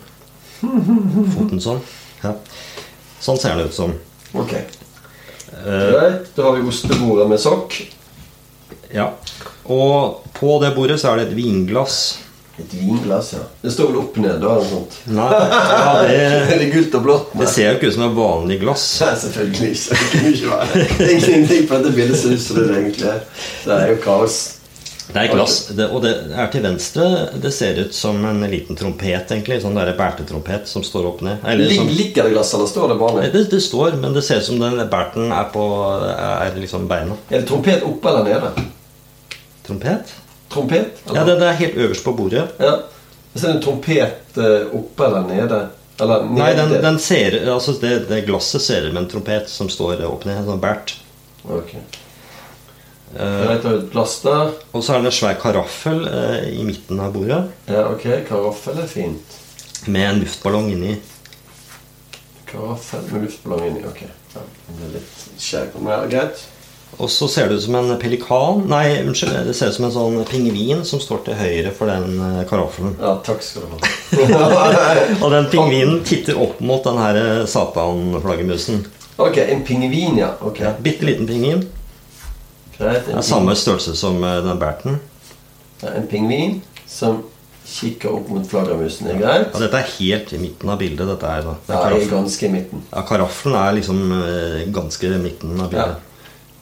Foten sånn. Ja. Sånn ser den ut som.
Ok.
Eh,
Greit. Da har vi ostebordet med sokk.
ja. Og på det bordet så er det et vinglass.
Et vinglass, ja. Det står vel opp ned, da? eller noe sånt.
Nei, ja, det,
Er [laughs] det gult og blått?
det ser jo ikke ut som et vanlig glass.
Nei, [laughs] selvfølgelig ikke. Det kunne ikke være. Det er ingenting på dette bildet ser ut som det det egentlig er. Det er jo kaos.
Det er glass, det, og det er til venstre. Det ser ut som en liten trompet, egentlig. Sånn der bærtetrompet som står opp ned. Eller sånn-
Lig-
som,
Ligger det glass, eller står det vanlig?
det, det står, men det ser ut som den bærten er på er liksom beina.
Er det trompet oppe eller nede?
Trompet?
Trompet?
Ja, det, det er helt øverst på bordet.
Ja. Og Så er det en trompet eh, oppe eller nede? Eller nede?
Nei, den, den ser, altså det, det glasset ser ut som en trompet som står opp ned. Sånn bært.
Ok.
Eh,
Greit, da har vi et glass der.
og så er det en svær karaffel eh, i midten av bordet
Ja, Eh, ok. Karaffel er fint.
med en luftballong inni.
Karaffel med luftballong inni. Ok. Ja, den er litt skjev. Men ja, greit.
Og så ser det ut som en pelikan Nei, unnskyld, det ser ut som en sånn pingvin som står til høyre for den eh, karaffelen.
Ja, takk skal du ha. [laughs]
Og den pingvinen titter opp mot den her eh, satanflaggermusen.
ok, en pingvin, ja. Ok,
Bitte liten pingvin.
greit.
Det
En,
er samme størrelse som eh, den bærten.
pingvin- en pingvin som kikker opp mot flaggermusen. Er greit?
Ja, dette er helt i midten av bildet. dette her da.
Ja,
Det er
jeg er
karaffelen.
ganske i midten.
Ja, karaffelen er liksom eh, ganske i midten av
Ja.
bildet.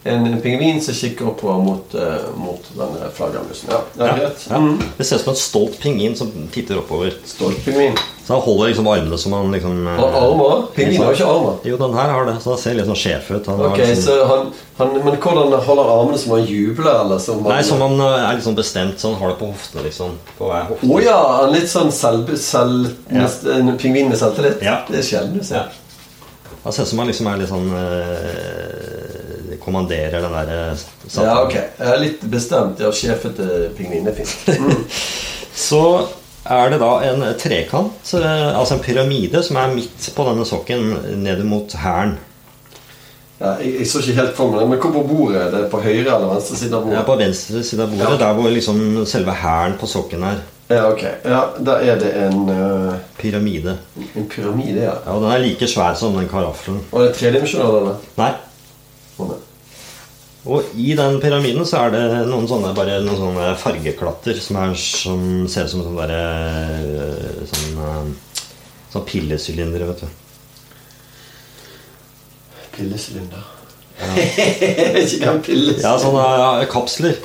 En, en pingvin som kikker oppover mot, eh, mot denne flaggermusen. Ja, det er greit.
ja.
Mm.
Det ser ut som en stolt pingvin som titter oppover.
Stolt pingvin.
Så han holder liksom armene som han liksom eh,
Har han armer? Pingvin har jo ikke armer.
Jo, den her har det, så han ser litt sånn sjef ut. Han har
Ok,
liksom-
så han, han, Men hvordan holder han armene? Som han jubler, eller? Som han,
Nei, som han eh, er litt sånn bestemt, så han har det på hoftene, liksom. På hver hofte.
Å ja! han Litt sånn selv, selv, mest- En pingvin med selvtillit?
Ja.
Det er sjelden du ser.
Han ser ut som han liksom er litt sånn eh, Kommanderer den eh, derre
Ja, ok. Jeg er litt bestemt. Jeg har sjefet til pingvin. Det er fint.
[laughs] Så er det da en trekant, eh, altså en pyramide, som er midt på denne sokken, nede mot hæren.
Ja, jeg, jeg så ikke helt for meg det, men hvor på bordet? er Det på høyre eller venstre side av
Det er
bordet?
på venstre side av bordet,
Ja.
der hvor liksom selve hæren på sokken er.
Ja, ok. Ja, Der er det en, øh,
Pyramide.
en pyramide, ja.
Ja, og den er like svær som den karaffelen.
Og det er tredimensjonal, eller?
Nei.
Å, nei.
Og i den pyramiden så er det noen sånne, bare noen sånne fargeklatter som, er, som ser ut som sånne derre øh, sånn, øh, sånn pillesylindere, vet du.
Pillesylinder. [laughs] ikke den pillesylinder.
Ja, sånne øh, kapsler.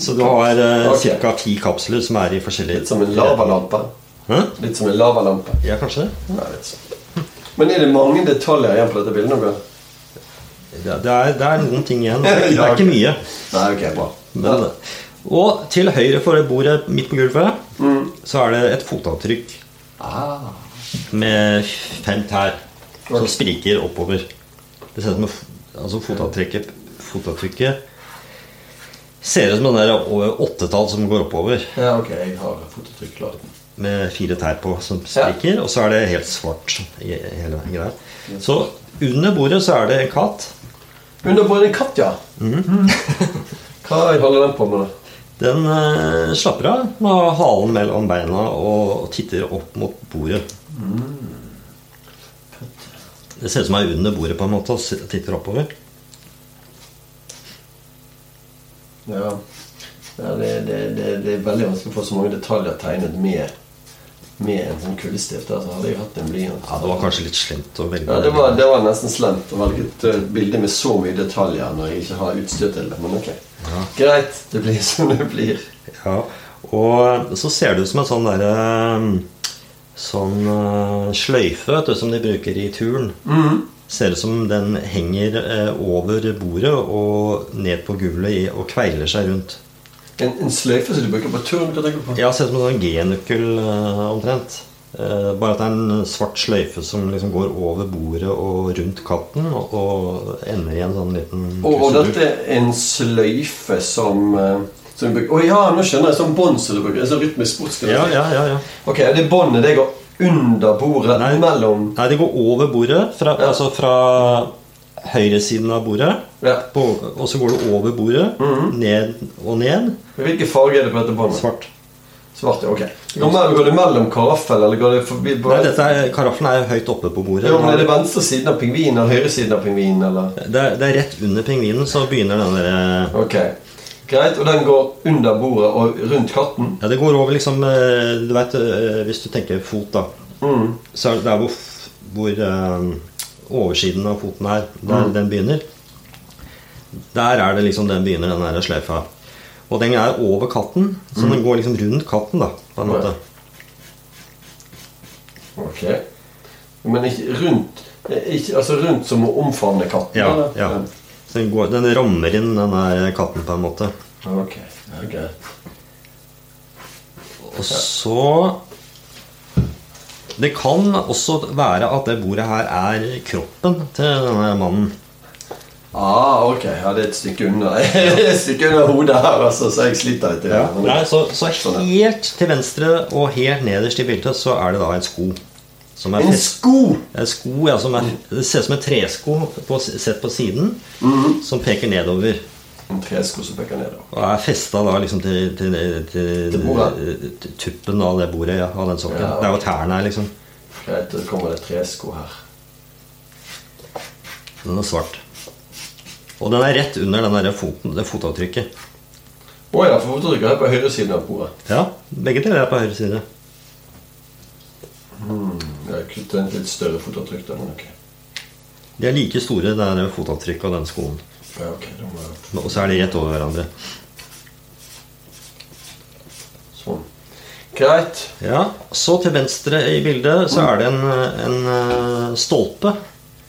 Så du har uh,
Ok.
ca. ti kapsler som er i forskjellige
Litt som en lavalampe.
Hæ?
Litt som en lavalampe.
Ja, kanskje det.
Nei, litt sånn. Men er det mange detaljer igjen på dette bildet? noe?
Det det er, det er noen ting igjen. Det er,
[laughs]
det
Ja,
er
ok.
ikke mye.
Nei, ok, bra.
Men, og til høyre for bordet midt på gulvet
Mm.
så er det et fotavtrykk
Ah,
med fem tær som spriker oppover. Det ser ut som en f- altså fotavtrykket, fotavtrykket ser ut som en der o- åttetall som går oppover
ja, ok, jeg har fototrykk klart.
med fire tær på som spriker, og så er det helt svart i hele greia. Så under bordet så er det en katt.
Under på en katt, ja. Mhm. Hva holder den på med, da?
Den eh, slapper av med halen mellom beina og titter opp mot bordet. Det ser ut som hun er under bordet på en måte og s- titter oppover.
Ja, ja det, det, det, det er veldig vanskelig å få så mange detaljer tegnet med, med en sånn kullestift. Altså, hadde jeg hatt en blyant
Ja, Det var kanskje litt slemt å velge.
Ja, det var, det var nesten slemt å velge et eh, bilde med så mye detaljer når jeg ikke har utstyr til det, men ok. Greit, det blir som det blir.
Ja, Og så ser det ut som en sånn derre Sånn eh, sløyfe vet du, som de bruker i turn.
Mm.
Ser ut som den henger eh, over bordet og ned på gulvet i- og kveiler seg rundt.
En, en sløyfe som du bruker på turn, hva tenker du på?
Ja, ser ut som en sånn G-nøkkel eh, omtrent. Eh, bare at det er en svart sløyfe som liksom går over bordet og rundt katten og, og ender i en sånn liten
Og, og
krusedull.
dette er en sløyfe som, eh, Som vi bruker- Å ja, nå skjønner jeg. Sånn bånd som du bruker. Sånn rytmisk sportsgreie.
Ja, ja, ja, ja.
Ok, det båndet det går under bordet
Nei.
mellom
Nei, det går over bordet. Fra,
Ja.
Altså fra høyresiden av bordet.
Ja. Mhm.
På, og så går det over bordet, ned og ned.
Hvilken farge er det på dette båndet?
Svart.
Svart, ja, ok. Går, me- går det mellom karaffel, eller går det forbi på
Nei, dette er, Karaffen er høyt oppe på bordet.
Jo, men Er det venstre siden av pingvinen eller høyre siden av pingvinen? eller?
Det er, det er rett under pingvinen, så begynner den eh, derre
Ok, Greit, og den går under bordet og rundt katten?
Ja, det går over liksom eh, Du veit, hvis du tenker fot, da.
Mm.
Så er det der hvor, f- hvor eh, oversiden av foten er, der den begynner. Der er det liksom den begynner, den der sløyfa. Og den er over katten, så den går liksom rundt katten, da, på en
Ja.
måte.
Ok. Men ikke rundt ikke, Altså rundt som å omfavne katten?
Ja,
eller?
ja. Så den, går, den rammer inn den der katten, på en måte.
Ja, Ok. Ja, greit.
Og så Det kan også være at det bordet her er kroppen til denne mannen.
Ah, ok. Ja, det er et stykke [laughs] unna Et stykke unna hodet her, altså, så jeg sliter litt. i det. Men-
Nei, så, så
Sånn, ja.
helt til venstre og helt nederst i bildet så er det da en sko. Som er
En
fest-
sko!
en sko ja, som er, Det ser ut som en tresko på, sett på siden,
Mhm.
som peker nedover.
En tresko som peker nedover.
Og er festa da liksom til, til, til,
Til bordet?
til tuppen av det bordet. Ja, av den sokken.
Ja.
Det er jo tærne her, liksom.
Greit, da kommer det tresko her.
Den er svart. Og den er rett under den der foten, det fotavtrykket.
Å ja, for fotavtrykket er på høyre siden av bordet.
Ja, Begge deler er på høyre side.
Jeg kutter en litt større fotavtrykk der, men ok.
De er like store, det der fotavtrykket og den skoen.
Ja, ok, da må jeg
Og så er de rett over hverandre.
Sånn. Greit.
Ja, Så til venstre i bildet så er det en, en eh, stolpe.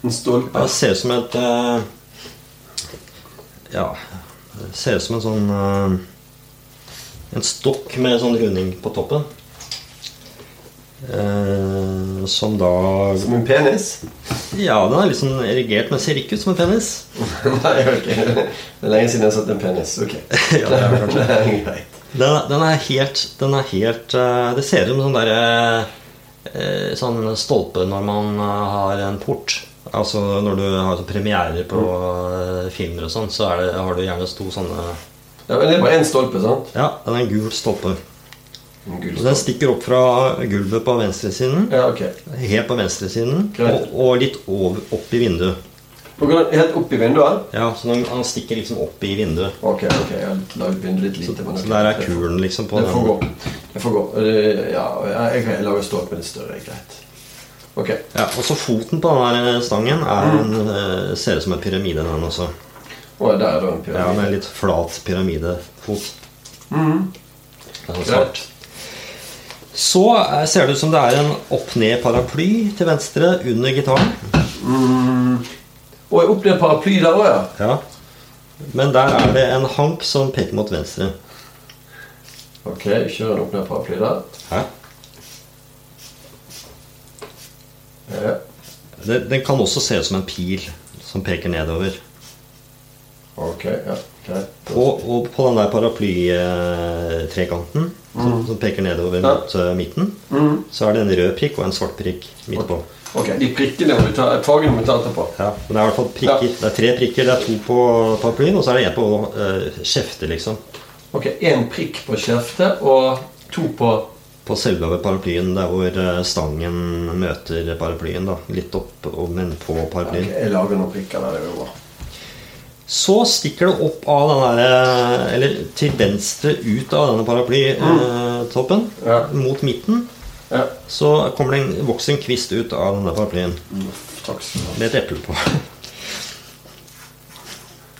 En stolpe.
Det ser ut som et eh, Ja Det ser ut som en sånn eh, En stokk med sånn runding på toppen. Eh, som da
Som en penis? [laughs]
Ja, den er litt sånn erigert, men ser ikke ut som en penis.
Nei, ok. Det er lenge siden jeg har sett en penis. Ok.
[laughs] Ja, det er kanskje.
Det er [laughs] greit.
Den, den er helt, den er helt eh, Det ser ut som sånn der, eh, eh, sånn stolpe når man eh, har en port. Altså Når du har sånn premierer på eh, filmer og sånn, så er det, har du gjerne to sånne
Ja, men det er bare én stolpe, sant?
Ja, den er en gul stolpe.
En gul
Så den
stolpe.
stikker opp fra gulvet på venstresiden.
Ja, ok.
Helt på venstresiden og,
Greit.
og litt over, opp i vinduet.
Og går den helt opp i vinduet?
Ja, så den, den stikker liksom opp i vinduet.
Ok, ok. Jeg har laget vinduet litt lite. men
Så
ok.
der er kulen liksom på
Det får
den.
gå. Det får gå. Det- Ja, jeg, jeg lager stolpen litt større. det er Greit. Ok.
Ja, og så foten på den der stangen er
Mm.
en, eh, ser ut som en pyramide, den også.
Og der er da en
Ja,
pyramide.
med litt flat pyramidefot. Den er svart.
Greit.
Så eh, ser det ut som det er en opp-ned-paraply til venstre under gitaren.
Og opp ned paraply der òg, ja.
Ja. Men der er det en hank som peker mot venstre.
Ok, kjører den opp ned paraply der.
Hæ?
Ja.
Den, den kan også se ut som en pil som peker nedover.
Ok, ja, greit.
Og, og på den der paraplytrekanten som, som peker nedover
Ja.
mot eh, midten,
Mm.
så er det en rød prikk og en svart prikk midt på.
Ok, De prikkene må vi ta, fargene må vi ta etterpå.
Ja, men det er i hvert fall prikker.
Ja.
Det er tre prikker. Det er to på paraplyen, og så er det en på uh, kjeftet, liksom.
Ok, Én prikk på kjeftet og to på
På selve paraplyen, der hvor eh, stangen møter paraplyen. da Litt opp, og- men på
Ok,
paraplyen.
Jeg lager noen prikker der. det går bra.
Så stikker det opp av den der eh, Eller til venstre ut av denne paraplytoppen.
Mm. Ja.
Mot midten.
Ja.
Så kommer det en, vokser en kvist ut av denne paraplyen
Uff, Mm, Takk skal du ha.
med et eple på.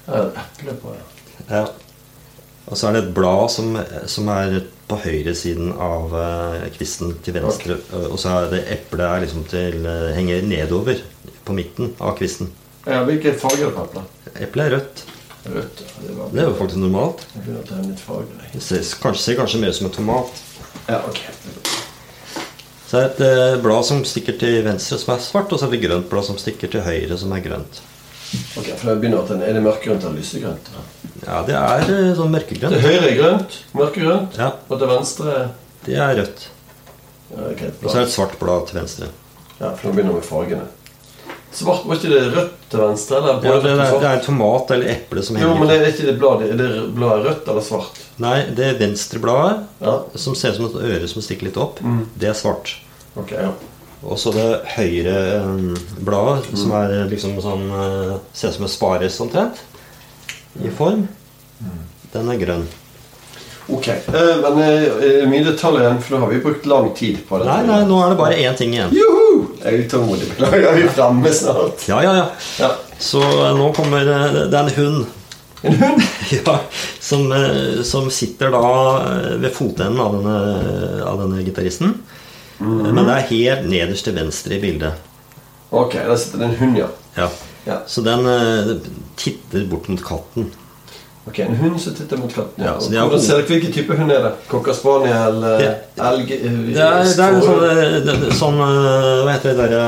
Her er det eple på ja.
ja. Og så er det et blad som, som er på høyresiden av eh, kvisten til venstre. Og så er det eplet er liksom til, eh, henger nedover på midten av kvisten.
Ja, Hvilken farge er det på eplet?
Eplet er rødt.
Rødt. ja, Det var
Det er jo faktisk normalt.
Jeg begynner å tegne litt farger. jeg.
Det ser kanskje, ser kanskje mer ut som en tomat.
Ja, ok.
Så er det et eh, blad som stikker til venstre, som er svart, og så er det et grønt blad som stikker til høyre, som er grønt.
Ok, for det begynner at den, Er det mørkegrønt eller lysegrønt?
Ja, det er eh, sånn mørkegrønn.
Til høyre er grønt, mørkegrønt,
Ja,
og til venstre er-
det er rødt.
ja, ok,
Og så er
bra.
det et svart blad til venstre.
ja, For nå begynner vi med fargene. Svart, Var ikke det rødt til venstre? Eller
Ja,
både
det,
rødt
er,
og
det
svart?
er en tomat eller eple som
Jo, men
henger
er det ikke det bladet? Er det bladet rødt eller svart?
Nei, det venstrebladet,
Ja,
som ser ut som et øre som stikker litt opp,
Mm.
det er svart.
ok, ja.
Og så det høyre eh, bladet,
Mm.
som er liksom sånn eh, Ser ut som en spares omtrent, i form.
Mm.
Den er grønn.
Ok, eh, men eh, er det mye detaljer igjen, for nå har vi brukt lang tid på det.
Nei, nei, nå er det bare én ting igjen.
Juhu! Jeg er utålmodig. Beklager, vi er fremme snart.
Ja, ja, ja.
Ja.
Så eh, nå kommer eh, Det er en hund.
En hund?
[laughs] Ja, som, eh, som sitter da eh, ved fotenden av denne, av denne gitaristen.
Mm.
Eh, Men det er helt nederst til venstre i bildet.
Ok, der sitter det en hund, ja.
Ja.
ja.
Så den eh, titter bort mot katten.
Ok, En hund som titter mot katten.
Ja,
Ja.
så de har
Hvordan
hund.
ser dere hvilken type hund er det? Cocker spaniel, eh,
Det-
elg eh,
Det er, det er en sånn,
skål-
eh, det, det, sånn eh, Hva heter det derre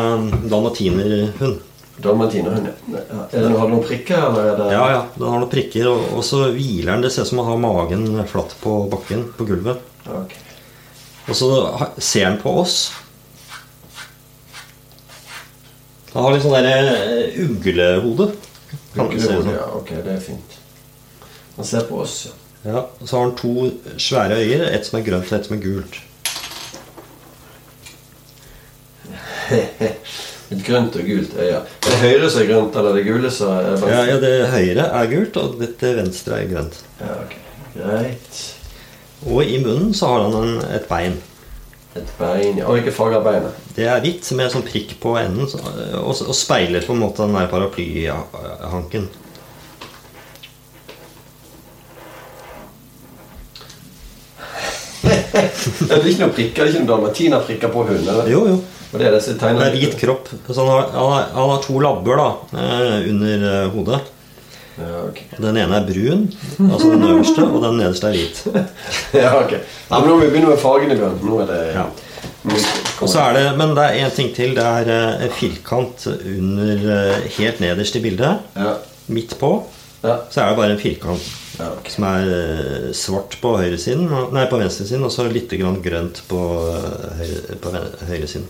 dalmatinerhund.
Dalmatinerhund, ja. ja. Er det, har du noen prikker, eller er det
Ja, ja. Den har noen prikker, og, og så hviler den. Det ser ut som han har magen flatt på bakken, på gulvet.
Ja, ok.
Og så ha- ser han på oss. Han har litt sånn der eh, uglehode. Kan det se ut som.
Ja, ok, det er fint. Han ser på oss, ja. [laughs]
Ja, og så har han to svære øyer. Ett som er grønt, og ett som er gult.
Et grønt og gult øye. Er det høyre som er grønt, eller er det gule som er venstre?
Ja, ja, Det høyre er gult, og det det venstre er grønt.
Ja, ok. Greit.
Og i munnen så har han en, et bein.
Et bein ja. Og ikke farge av beinet. [laughs]
Det er hvitt med sånn prikk på enden så, og, og speiler på en måte den der paraplyhanken.
Ja, Det er ikke noen prikker, det er ikke noen dalmatinerprikker på hunden? eller?
Jo, jo.
Og det er disse
Det
tegnene?
er hvit kropp. Så han har, han har, han har to labber da, eh, under eh, hodet.
Ja, ok.
Den ene er brun, altså den øverste, og den nederste er hvit.
[laughs] Ja, ok. Nei, men nå må vi begynne med fargene, Bjørn. Nå er det
Ja.
Nå
Og så
kommer-
er det, Men det er én ting til. Det er eh, en firkant under eh, helt nederst i bildet.
ja.
Midt på
Ja.
så er det bare en firkant
ja, ok.
som er eh, svart på høyresiden, og- nei, på venstresiden, og så litt grann grønt på, eh, høyre, på ven- høyresiden.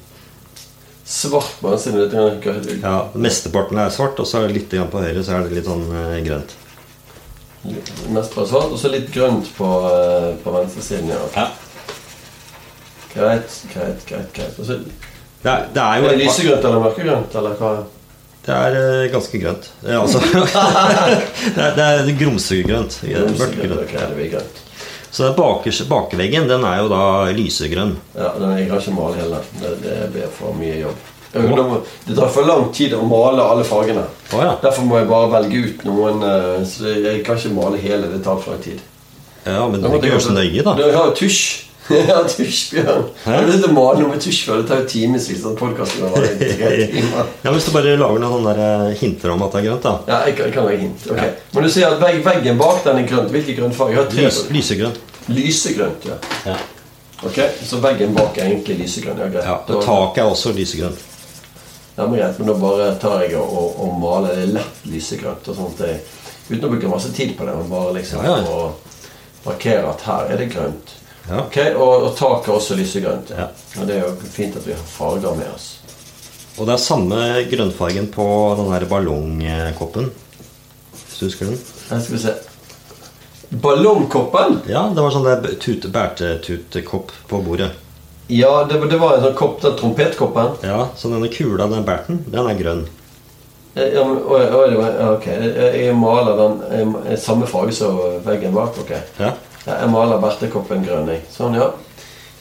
Svart på den siden. Litt grann grønt.
Ja, Mesteparten er svart, og så litt grann på høyre så er det litt sånn eh, grønt.
Mest fra svart, og så litt grønt på, eh, på venstre siden. Ja.
Ja.
Greit, greit, greit. greit. Og så,
Det er, det er jo
er det lysegrønt eller mørkegrønt? Eller hva?
Det er eh, ganske grønt. Eh, altså, [laughs] det, er, det er grumsegrønt. eh,
Lysegrønt,
Mørkegrønt.
ok, det blir grønt.
Så den bakers, bakveggen den er jo da lysegrønn.
Ja, den jeg har ikke male hele. Det, det blir for mye jobb. Jeg, da må, det tar for lang tid å male alle fargene.
Å ja.
Derfor må jeg bare velge ut noen eh, Så jeg kan ikke male hele. Det tar for lang tid.
ja men du
Da
må
måtte
ikke
jeg
gjøre så nøye, da.
Du har jo tusj. [laughs] Jeg har tusj, Bjørn. Jeg har lyst til å male noe med tusj før. Det tar jo timevis. liksom, Den podkasten har vært i
[laughs]
tre timer.
Ja, Hvis du bare lager noen sånne der, eh, hinter om at det er grønt, da.
Ja, jeg kan, jeg kan lage hint. Ok. Men du sier at vegg, veggen bak den er grønt. Hvilken grønn farge? Jeg har tre.
Lys, lysegrønn.
Lysegrønt, ja.
Ja.
Ok, Så veggen bak er egentlig lysegrønn. Ja, greit.
Ja,
Da-
og taket er også lysegrønt.
Ja, men greit, men da bare tar jeg og, og, og maler det lett lysegrønt og sånt. Jeg, uten å bruke masse tid på det, men bare liksom
Ja, ja.
å markere at her er det grønt.
Ja.
Ok, Og, og taket er også lysegrønt.
Ja.
Og det er jo fint at vi har farger med oss.
Og det er samme grønnfargen på den her ballongkoppen. Hvis du husker den?
Her skal vi se. Ballongkoppen!
Ja, det var sånn der b- tute, bærtetutekopp på bordet.
Ja, det, var- det var en sånn kopp, den trompetkoppen.
Ja, Så denne kula, den bærten, den er grønn.
Eh, Ja, men, å, å, det var, ja, ok, jeg, jeg maler den eh, samme farge som veggen bak. ok.
Ja.
Ja, Jeg maler bertekoppen grønn. jeg. Sånn, ja.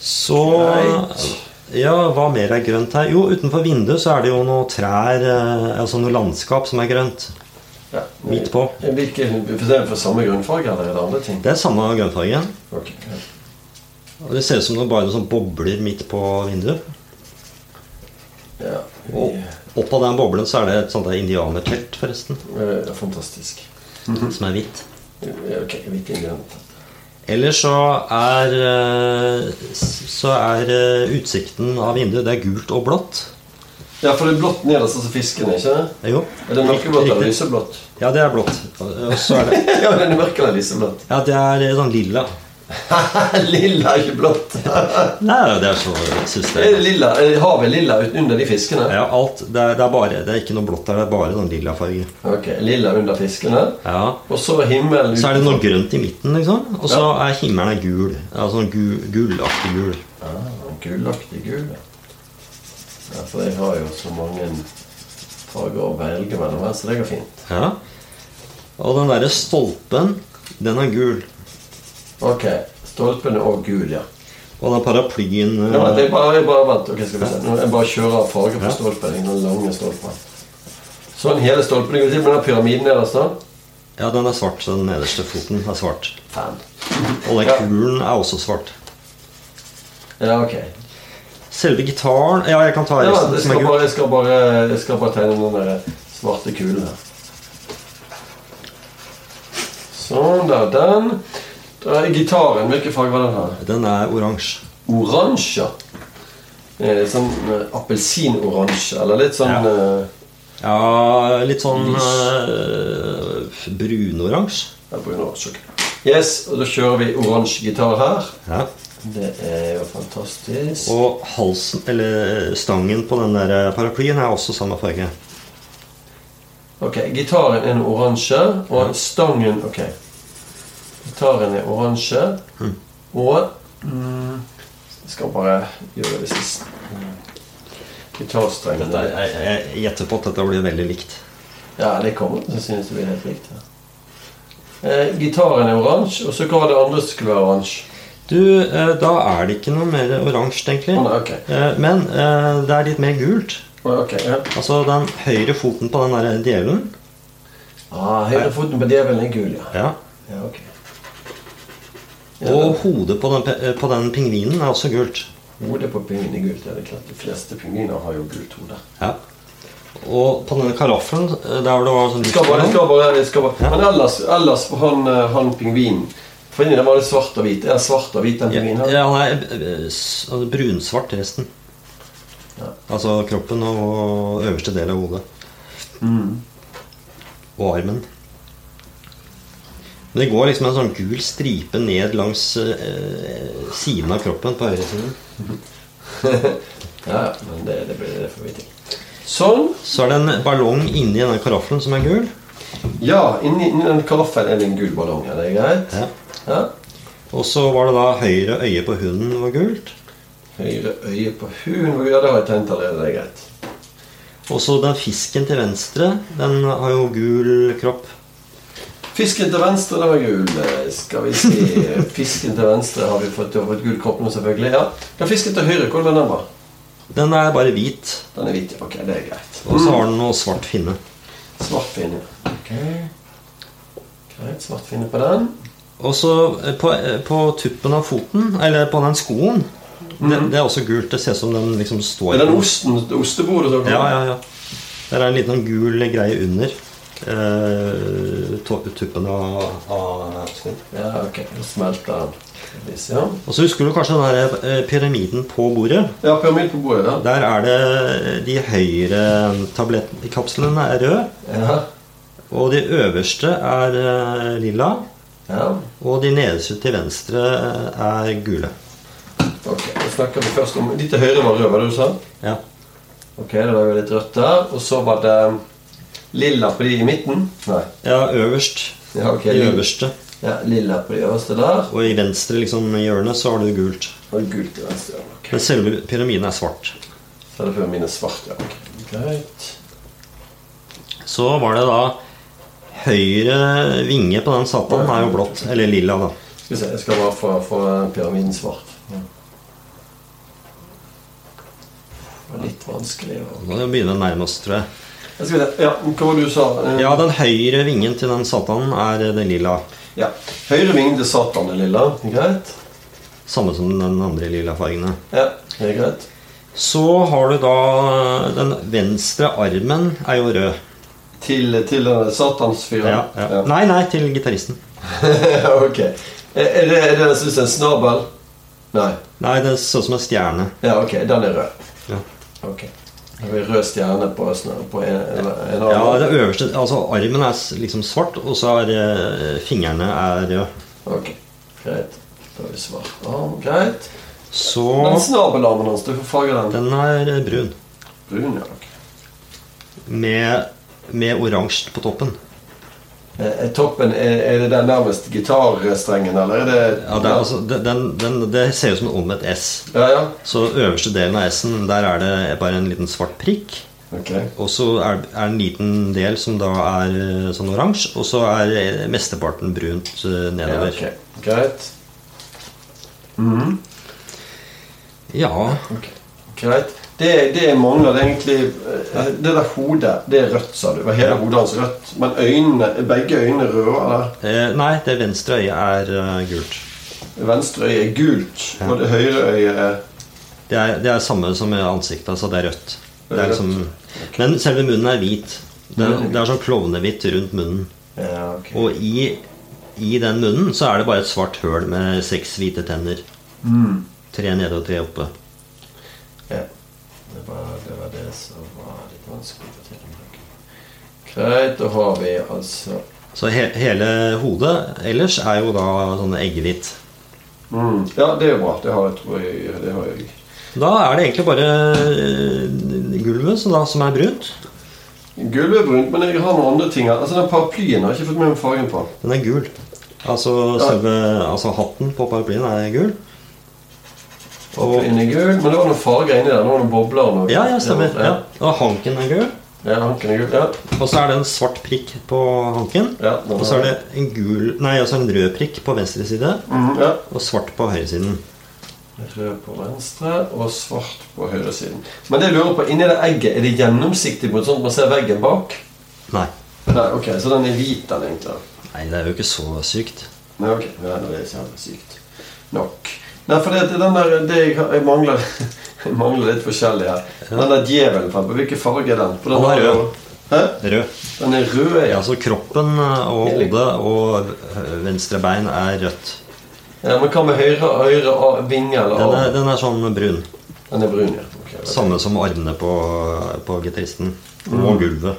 Så
Greit.
Ja, hva mer er grønt her? Jo, utenfor vinduet så er det jo noe trær, eh, altså noe landskap som er grønt.
ja. Eh,
Midt på.
Hvilke, for det er for samme grunnfarge, eller er det andre ting?
Det er samme grønnfargen.
Ok, ja.
Og det ser ut som det bare er sånn bobler midt på vinduet.
Ja,
Og oppå den boblen så er det et sånt der indianertelt, forresten,
eh, fantastisk.
som er hvitt.
Ja, Ok, hvilken grønn?
Ellers så er eh, s- Så er eh, utsikten av vinduet Det er gult og blått.
Ja, for det er blått nederst, altså fisken, ikke det?
Eh, Jo.
Er det mørkeblått eller
Riktig.
lyseblått?
Ja, det er blått. Og så er det
[laughs] Ja, den er mørkere enn lyseblått. [laughs]
Ja, det er eh, sånn lilla.
lilla er ikke
[laughs]
blått.
Nei, det er så synes
Er det
jeg.
lilla, er havet lilla utenunder de fiskene?
Ja, alt. Det er, det er bare Det er ikke noe blått der, det er bare sånn lilla farge.
Ok, Lilla under fiskene.
Ja.
Og så himmelen
Så er det noe grønt i midten, liksom. Og så er himmelen er gul. Altså sånn gu- gullaktig gul.
Ah, Gullaktig gul, ja. ja. For jeg har jo så mange farger å velge mellom her, så det går fint.
Ja. Og den derre stolpen, den er gul.
Ok, Stolpen er òg gul, ja.
Og den paraplyen eh,
ja vent, jeg bare, jeg bare, vent, ok, skal vi se. Nå, jeg bare kjører av farger på stolpen. Den lange stolpen. Sånn hele stolpen. Det går til med den pyramiden nederst, da.
Ja, den er svart. Den nederste foten er svart.
Fan.
Og den
Ja.
kulen er også svart.
Ja, ok.
Selve gitaren Ja, jeg kan ta
Ja, vent,
resten.
jeg,
som er
skal
gul.
bare, jeg, skal bare, jeg skal bare tegne den der svarte kulen her. Sånn, der. Den. Da er gitaren. Hvilken farge var den her?
Den er oransje.
oransje. Eh, sånn eh, appelsinoransje, eller litt sånn
Ja.
eh,
Ja, litt sånn eh, brunoransje.
ja, brunoransje. ok. Yes, og da kjører vi oransje gitar her.
Ja.
Det er jo fantastisk.
Og halsen, eller eh, stangen på den der eh, paraplyen er også samme farge.
Ok, Gitaren er nå oransje, og stangen Ok. Gitaren er oransje, og mm, Jeg skal bare gjøre det siste. Gitarstrengene
Dette, er- jeg, jeg gjetter på at dette blir veldig likt.
Ja, det kommer til å synes det blir helt likt. Ja. Eh, gitaren er oransje, og så hva var det andre som skulle være oransje?
Du, eh, da er det ikke noe mer oransje, egentlig.
Å, nei, ok.
Eh, Men eh, det er litt mer gult.
Å, ok, ja.
Altså den høyre foten på den der djevelen.
Ah, Høyrefoten på djevelen er gul, ja.
Ja.
ja ok.
Og hodet på den, pe- på den pingvinen er også gult.
Hodet på pingvinen er gult. Ja, det er klart. De fleste pingviner har jo gult hode.
Ja. Og på denne karaffelen eh, der hvor det var sånn
Det Skal bare, det skal bare, det skal bare.
Ja.
Men ellers, ellers for han, eh, han pingvinen For inni den var det svart og hvit. Er svart og hvit, den
ja,
pingvinen? her?
ja, han er eh, s- altså, brunsvart resten.
Ja.
Altså kroppen og øverste del av hodet.
Mm.
Og armen. Men det går liksom en sånn gul stripe ned langs eh, siden av kroppen på høyresiden.
Ja, [laughs] ja, men det, det blir det får vi til. Sånn.
Så er det en ballong inni denne karaffelen som er gul.
Ja, inni, inni den karaffen er det en gul ballong. Er det greit?
Ja.
ja.
Og så var det da høyre øye på hunden var gult.
Høyre øye på huden. Ja, det har jeg tegnet allerede. Det er greit.
Og så den fisken til venstre, den har jo gul kropp.
Fisken til venstre, den var gul. Eh, Skal vi
[laughs]
se Fisken til venstre har vi fått, har fått gul kropp nå, selvfølgelig. Ja. Den fisken til høyre, hvordan er den var?
Den er bare hvit,
Den er hvit. ja. Ok, det er greit.
og så har den noe svart finne.
Svart finne. Ok. Greit, svart finne på den.
Og så eh, på, eh, på tuppen av foten, eller på den skoen, det, det er også gult. Det ser ut som den liksom står
Mhm. Er den
på-
osten, ostebordet dere
Ja, ja, ja. Der er en liten gul greie under eh, to- tuppen av, av skoen.
ja, ok. Nå smelter den. Vis, Ja,
Og så husker du kanskje den der eh, pyramiden på bordet?
ja pyramid på bordet, da.
Der er det de høyre tablettkapslene er røde,
Ja.
og de øverste er eh, lilla,
ja.
og de nederste til venstre eh, er gule.
Ok, Nå snakker vi først om De til høyre var røde, var det du sa?
Ja.
Ok, det var jo litt rødt der. Og så var det um, lilla på de i midten. Nei.
ja, øverst.
Ja, ok.
I
lilla.
øverste.
Ja, lilla på det øverste der.
Og i venstre liksom, i hjørnet så har du gult.
Og gult i venstre. Ja, ok.
Men selve pyramiden er svart.
Så er det før mine svart, ja. ok. Greit.
Så var det da høyre vinge på den satan er jo blått. Eller lilla, da.
Skal vi se, jeg skal bare få, få pyramiden svart. Det var litt vanskelig å
Nå må vi begynne nærmest, tror jeg.
Jeg skal vi se, ja, hva var det du sa? Eh,
Ja, den høyre vingen til den satanen er eh, den lilla.
ja. Høyre ving til Satan er lilla. Greit.
Samme som den andre lilla fargene.
Ja, det er greit.
Så har du da eh, den venstre armen er jo rød.
Til, til eh, Satansfyren?
Ja, ja. Nei, nei, til gitaristen.
[laughs] ok. Er er det, er det jeg syns er en snabel? Nei.
Nei, det ser ut som en stjerne.
Ja, ok. Den er rød.
Ja.
Ok. Med rød stjerne på, snø- på en, en, en
Ja,
arm.
det øverste, altså Armen er s- liksom svart, og så er eh, fingrene er røde.
Ok, greit. Da har vi svar. Arm, greit.
Så
Den snabelarmen hans, du får farge den.
Den er eh, brun.
Brun, ja. ok.
Med, med oransje på toppen.
Eh, eh, toppen, er, er det der nærmest gitarstrengen, eller er det
Ja, det, er, altså, det- den, den, det ser ut som en omvendt S.
Ja, ja.
Så øverste delen av S-en, der er det bare en liten svart prikk.
Ok.
Og så er det en liten del som da er eh, sånn oransje, og så er eh, mesteparten brunt eh,
Ja,
nedover.
ok. Greit. Mhm.
Ja,
Greit. Det, det jeg mangler egentlig eh, Det der hodet, det er rødt, sa du. Var hele hodet hans rødt? Men øynene, er begge øynene røde? eller?
Eh, nei, det venstre øyet er eh, gult.
Venstre øye er gult, og det høyre øye er
Det er det er samme som med ansiktet, altså det er rødt. Det
Det er
er liksom, men selve munnen er hvit. Det,
Munnen er hvit.
det er sånn klovnehvitt rundt munnen.
ja, ok.
Og i, i den munnen så er det bare et svart høl med seks hvite tenner.
Mhm.
Tre nede og tre oppe.
Ja. Det var det, var det som var litt vanskelig å tillegge. Greit, da har vi altså
Så he, hele hodet ellers er jo da sånn eggehvitt.
mm. Ja, det er jo bra. Det har jeg, tror jeg. Det har jeg.
Da er det egentlig bare eh, gulvet som, da, som er brunt.
Gulvet er brunt, men jeg har noen andre ting her. Altså, Den paraplyen har jeg ikke fått med meg fargen på.
Den er gul. Altså,
Ja.
selve, altså hatten på paraplyen er gul. Og,
Paraplyen er gul, men det var noen farger inni der. Det var noen bobler og noe.
ja, ja, stemmer. Ja. Og hanken er gul.
Ja, hanken er gul. Ja.
Og så er det en svart prikk på hanken.
Ja, den
og så
har
er det en gul Nei, og så er det en rød prikk på venstre side.
Mm, ja.
Og svart på høyresiden.
Rød på venstre og svart på høyresiden. Men det jeg lurer på, inni det egget, er det gjennomsiktig mot sånn at man ser veggen bak?
Nei.
Nei, ok, Så den er hvit, den egentlig?
Nei, det er jo ikke så sykt.
Nei, ok. Nei, det er ikke helt sykt nok. Nei, for det, det, den der, det jeg, har- jeg mangler [laughs] Jeg mangler litt forskjellig her. Den der djevelen, for eksempel, hvilken farge er den? For den
Han er
har jo-
rød.
Hæ?
Rød.
Den er rød, ja.
Ja, så kroppen og hodet og øh, venstre bein er rødt.
ja. Men hva med høyre, høyre a- vinge eller
Den er, Sånn.
arm?
den er sånn brun.
Den er brun, ja. Ok, det-
Samme som armene på, på gitaristen. Mm. Og gulvet.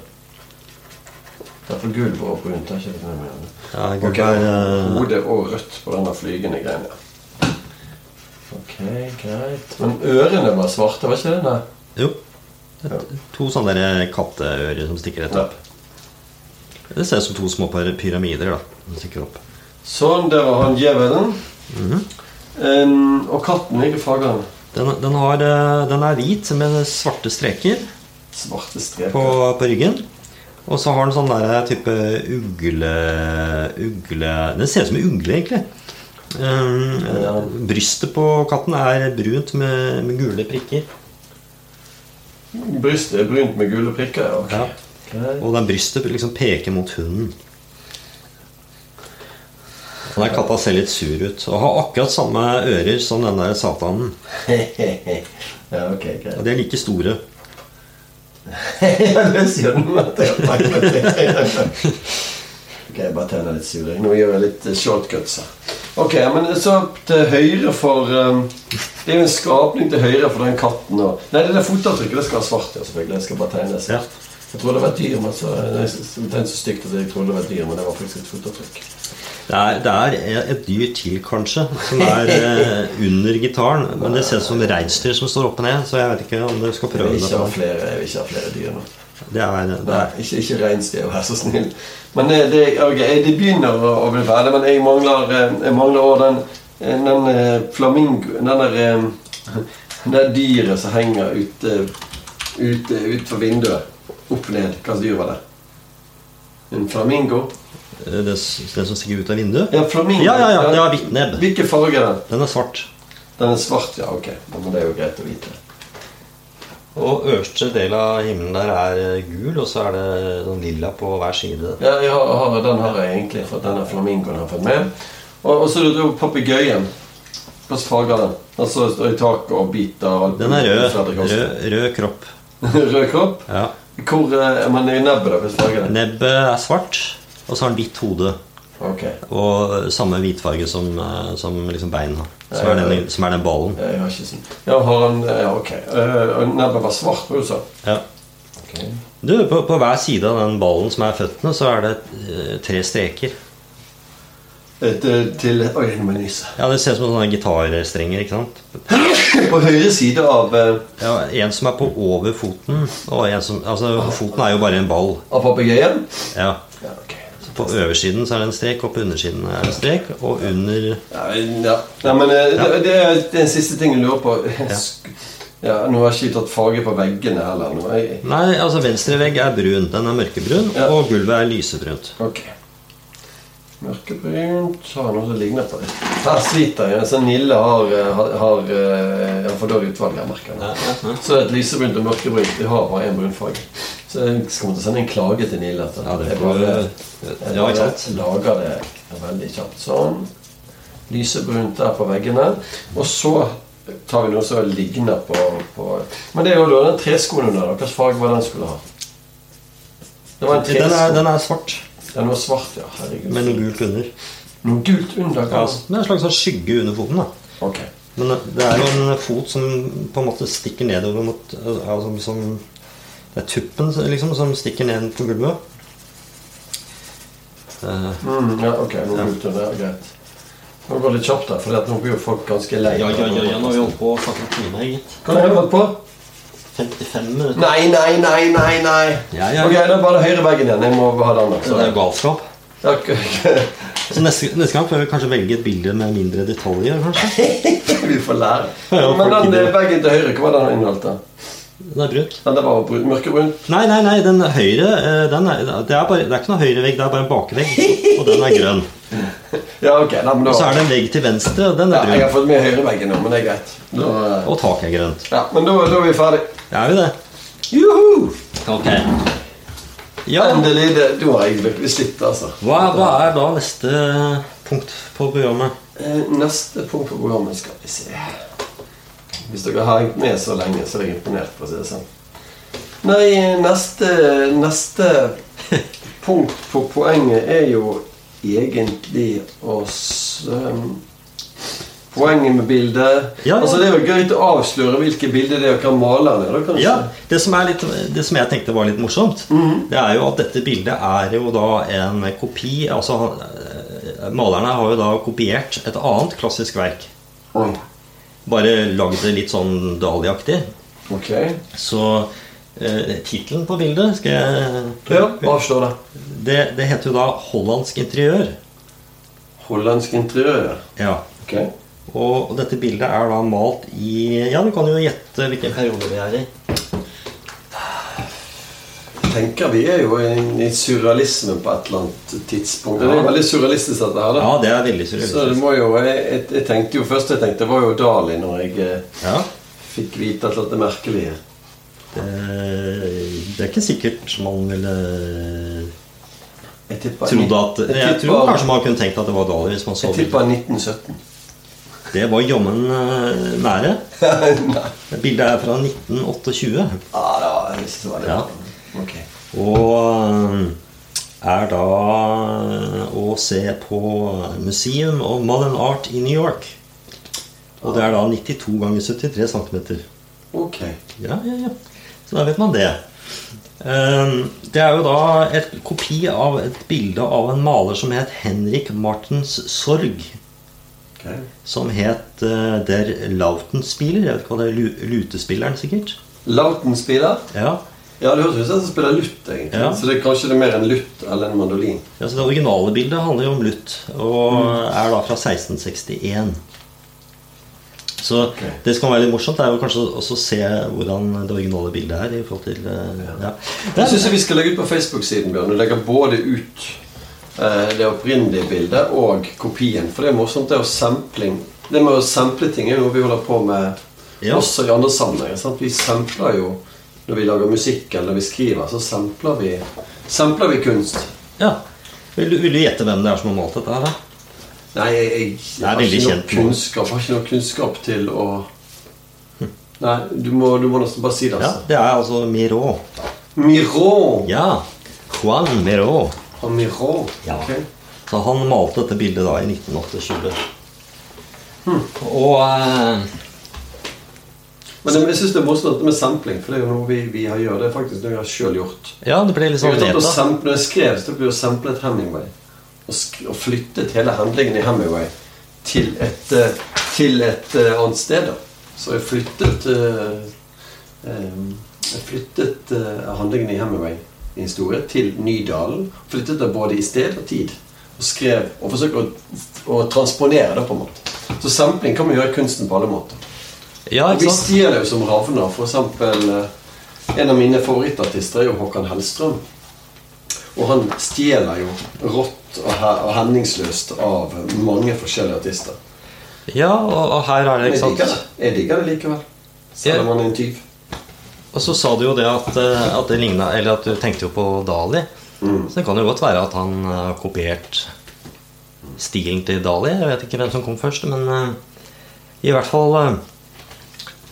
Derfor gulvet og brunt. har Jeg ikke fått med meg den.
Ja, gulvet
Ok,
er, eh,
Hodet og rødt på denne flygende greien der. Ok, greit. Men ørene var svarte, var ikke det? Nei.
Jo. Et, to sånne der katteører som stikker rett opp. Det ser ut som to små par- pyramider da, som stikker opp. Mhm.
Sånn, der var han djevelen. Em, og katten, hvilke farger er den?
Den, den, har, eh, den er hvit med svarte streker
Svarte streker.
på, på ryggen. Og så har den sånn der type ugle... ugle Den ser ut som en ugle, egentlig. Um,
Ja.
Brystet på katten er brunt med, med gule prikker.
Brystet er brunt med gule prikker. ja, ok.
Ja.
Greit.
Og den brystet liksom peker mot hunden. Den der katta ser litt sur ut og har akkurat samme ører som den der satanen.
[laughs] ja, ok, greit. [laughs]
Og de er like store.
ja, det sier du at jeg har tenkt på det. Ok, jeg bare tenner litt suring. Nå gjør jeg litt eh, shortcuts her. Ok, men så til høyre for eh, Det er jo en skapning til høyre for den katten og Nei, det der fotavtrykket det skal være svart, ja, selvfølgelig. Det skal bare tegnes.
Ja.
Jeg trodde det var et dyr, men så Jeg tegnet så stygt at jeg trodde det var et dyr, men det var faktisk et fotavtrykk.
Det er, det er et dyr til, kanskje, som er eh, under gitaren. Men det ser ut som reinsdyr som står opp og ned, så jeg vet ikke om dere skal
Jeg
prøve
vil
det.
ikke ha flere, jeg vil ikke ha flere dyr nå.
Det er, det
Nei,
er.
ikke, ikke reinsdyr, vær så snill. Men det, det, ok, eh, det begynner å, å bli ferdig, men jeg mangler, eh, jeg mangler også den, eh, den eh, flamingo... Den der, eh, det der dyret som henger ute ute utfor vinduet. Opp ned. Hva slags dyr var det? En flamingo?
Det, det som stikker ut av vinduet?
Ja, flamingo.
Ja, ja, ja. Det har hvitt nebb.
Hvilken farge er den?
Den er svart.
Den er svart, ja. Ok. Ja, Men det er jo greit å vite.
Og øverste del av himmelen der er eh, gul, og så er det sånn lilla på hver side.
Ja, jeg har, har, den har jeg egentlig fått. Denne flamingoen har jeg fått med. Og, og så er det jo papegøyen. Hva slags farge er den? Den står står i taket og biter. Og alt
Den er
mulig.
rød.
Fredrik Hansen.
Rød, rød kropp.
[laughs] rød kropp?
Ja.
Hvor eh, Men i nebbet, da? Hvilken farge er den?
Nebbet er svart, og så har den hvitt hode.
Ok.
Og samme hvitfarge som, eh, som liksom beina. Som er den, som er den ballen.
Jeg har ikke sånn. Ja, har han Ja, ok. Eh, og Nebbet var svart på huset.
Ja. Du, på, på hver side av den ballen som er føttene, så er det eh, tre streker.
Et, eh, til Oi, nå må jeg nyse. [laughs]
Ja, Det ser ut som sånne gitarstrenger. ikke sant?
På høyre side av, eh,
Ja, En som er på over foten, og en som Altså, foten er jo bare en ball.
av papegøyen.
Ja.
Ja, ok.
Så på øversiden så er det en strek, og på undersiden er det en strek, og under
Ja, ja. Nei, men eh, Det, det, er, det er en siste ting jeg lurer på. Sk- [laughs] Ja, nå har jeg ikke tatt farge på veggene heller. Nå er jeg...
Nei, altså venstre vegg er brun. Den er mørkebrun,
Ja.
og gulvet er lysebrunt.
Ok. Mørkebrunt Har jeg noe som ligner på det? Her sliter jeg. Så Nille har, eh, har, har, eh, har for dårlig utvalg. jeg merker nå. Så et lysebrunt og mørkebrunt De har bare én brun farge. Så jeg skal måtte sende en klage til Nille. etter
Ja, det
Jeg
får-
bare- jeg
ja, ikke
bare
sant?
lager det veldig kjapt. Sånn. Lysebrunt der på veggene. Og så tar vi noe som ligner på, på Men det er jo da den treskoen under. da. Hvilken farge var den skulle ha? Det var en
Den
tresko.
er, den er svart,
Den var svart, ja. Herregud.
med noe gult under.
Noe gult under
Ja,
glasset?
altså, det er en slags sånn skygge under foten. da.
Ok.
Men det er jo en fot som på en måte stikker nedover mot altså, som, Det er tuppen liksom, som stikker ned på gulvet. Eh,
Mm, ja, ok, noe gult under, ja, greit. Nå går det litt kjapt her, for nå blir jo folk ganske lei.
holdt på å snakke en time, gitt.
Kan jeg holde på?
55 minutter.
Nei, nei, nei, nei, nei.
Ja, ja.
Ok, det er bare høyre veggen igjen. Jeg må ha den der.
Så det er jo galskap.
Ja, ok.
Så neste, neste gang får vi kanskje velge et bilde med mindre detaljer, kanskje.
Vi får lære.
Ja, ja,
Men
folk
den
gidder.
eh, veggen til høyre, hva var den inneholdt da?
Den er brunt.
Den der var brun, mørkebrun.
Nei, nei, nei, den høyre eh, den er, det, er bare, det er ikke noe høyrevegg, det er bare en bakvegg. Og den er grønn.
Ja, ok. Nei, men
Og så
da...
er det en vegg til venstre, og den
Ja,
er
jeg har
brun.
fått med høyre veggen nå, men det er greit. Da, eh,
Og taket er grønt.
Ja, men da, da er vi ferdig.
Er vi det?
Juhu!
Ok. Ja,
Endelig, det, du har jeg lykkelig slitt, altså.
hva, hva er da neste punkt på programmet?
Eh, Neste punkt på programmet skal vi se Hvis dere har hengt med så lenge, så er jeg imponert. for å si det sånn Nei, neste, neste punkt på poenget er jo egentlig oss ehm, Poenget med bildet
Ja, ja.
Altså Det er jo gøy å avsløre hvilke bilder det er dere maler ned. da, kanskje.
Ja, Mhm. det som, er litt, det som jeg tenkte var litt morsomt, det er jo at dette bildet er jo da en kopi Altså, han- eh, malerne har jo da kopiert et annet klassisk verk.
Oi,
Bare lagd det litt sånn Dali-aktig.
Ok.
Så eh, tittelen på bildet skal jeg
Ja, Avslør det.
det, det heter jo da 'Hollandsk interiør'.
Hollandsk interiør.
Ja.
Ok.
Og dette bildet er da malt i Ja, du kan jo gjette hvilken periode vi er i.
tenker vi er jo i, i surrealisme på et eller annet tidspunkt. Det er jo veldig surrealistisk dette her. da.
Ja, det er veldig
Så det
surrealistisk.
må jo, jeg, jeg, jeg tenkte jo Først jeg tenkte var jo Dali når jeg eh,
Ja.
fikk vite at dette merkelige.
Det, det er ikke sikkert man ville
Jeg tipper,
trodd at
jeg
Jeg tror
tipper-
kanskje man kunne tenkt at det var Dali hvis man så
Jeg
bildet.
tipper 1917.
Det var jammen eh,
[laughs]
nære.
Nei.
Bildet er fra 1928.
Ah, det var, jeg visste det var det.
Ja.
Ok.
Og eh, er da eh, å se på Museum of Modern Art i New York. Og det er da 92 ganger 73 cm.
Ok.
Ja, ja, ja. Så da vet man det. Ehm, Det er jo da et kopi av et bilde av en maler som het Henrik Martens Sorg.
ok.
Som het eh, Der Lautenspieler. Jeg vet ikke hva det er. lu- Lutespilleren, sikkert.
Lauten spiller.
Ja.
Ja, det høres ut som han spiller lutt, egentlig.
Ja.
Så det er kanskje det er mer en lutt eller en mandolin.
Ja, så Det originale bildet handler jo om lutt, og
Mm.
er da fra 1661. Så det som kan være litt morsomt, er jo kanskje også å se hvordan det originale bildet er. i forhold til... eh, Ja.
Jeg syns vi skal legge ut på Facebook-siden, Bjørn. Du legger både ut eh, det opprinnelige bildet og kopien. For det er morsomt, det er jo sampling. Det med å sample ting er jo noe vi holder på med
Ja.
også i andre sammenhenger. Sant? Vi sampler jo når vi lager musikk eller når vi skriver, så sampler vi, sampler vi kunst.
ja. Vil, du, vil du gjette hvem det er som har malt dette her? da?
Nei, jeg, jeg,
Det er
har,
veldig
ikke noe
kjent nå.
kunnskap, har ikke noe kunnskap til å Nei, du må, du må nesten bare si det.
Ja,
Altså.
Det er altså Miró.
Miró!
Ja. Juan Miró.
Og Miró.
Ja.
ok.
Så han malte dette bildet da i 1928. Og eh,
Men jeg, jeg syns det er morsomt dette med sampling, for det er jo noe vi, vi har gjort. Det er faktisk noe jeg har sjøl gjort.
ja, det ble litt
Så
sånn
jeg har tatt og
beta.
samplet, når jeg skrev, så ble jo samplet Hemingway. Og, sk og flyttet hele handlingen i Hemingway til et, eh, til et eh, annet sted. da. Så jeg flyttet eh, eh, Jeg flyttet eh, handlingen i Hemingway i historie til Nydalen. Flyttet det både i sted og tid. Og skrev og forsøkte å, å transponere det, på en måte. Så sampling kan man gjøre i kunsten på alle måter.
Ja,
Og vi
ikke sant?
stjeler jo som ravner. For eksempel, eh, en av mine favorittartister er jo Håkan Hellstrøm. Og han stjeler jo rått og, he og henningsløst av mange forskjellige artister.
Ja, og, og her er
Men
det,
jeg
ikke sant.
liker det. Jeg liker det likevel. Selv om han er en tyv.
Og så sa du jo det at, eh, at det lignet, eller at du tenkte jo på Dali. Så det kan jo godt være at han eh, har kopiert stilen til Dali. Jeg vet ikke hvem som kom først, men eh, i hvert fall eh,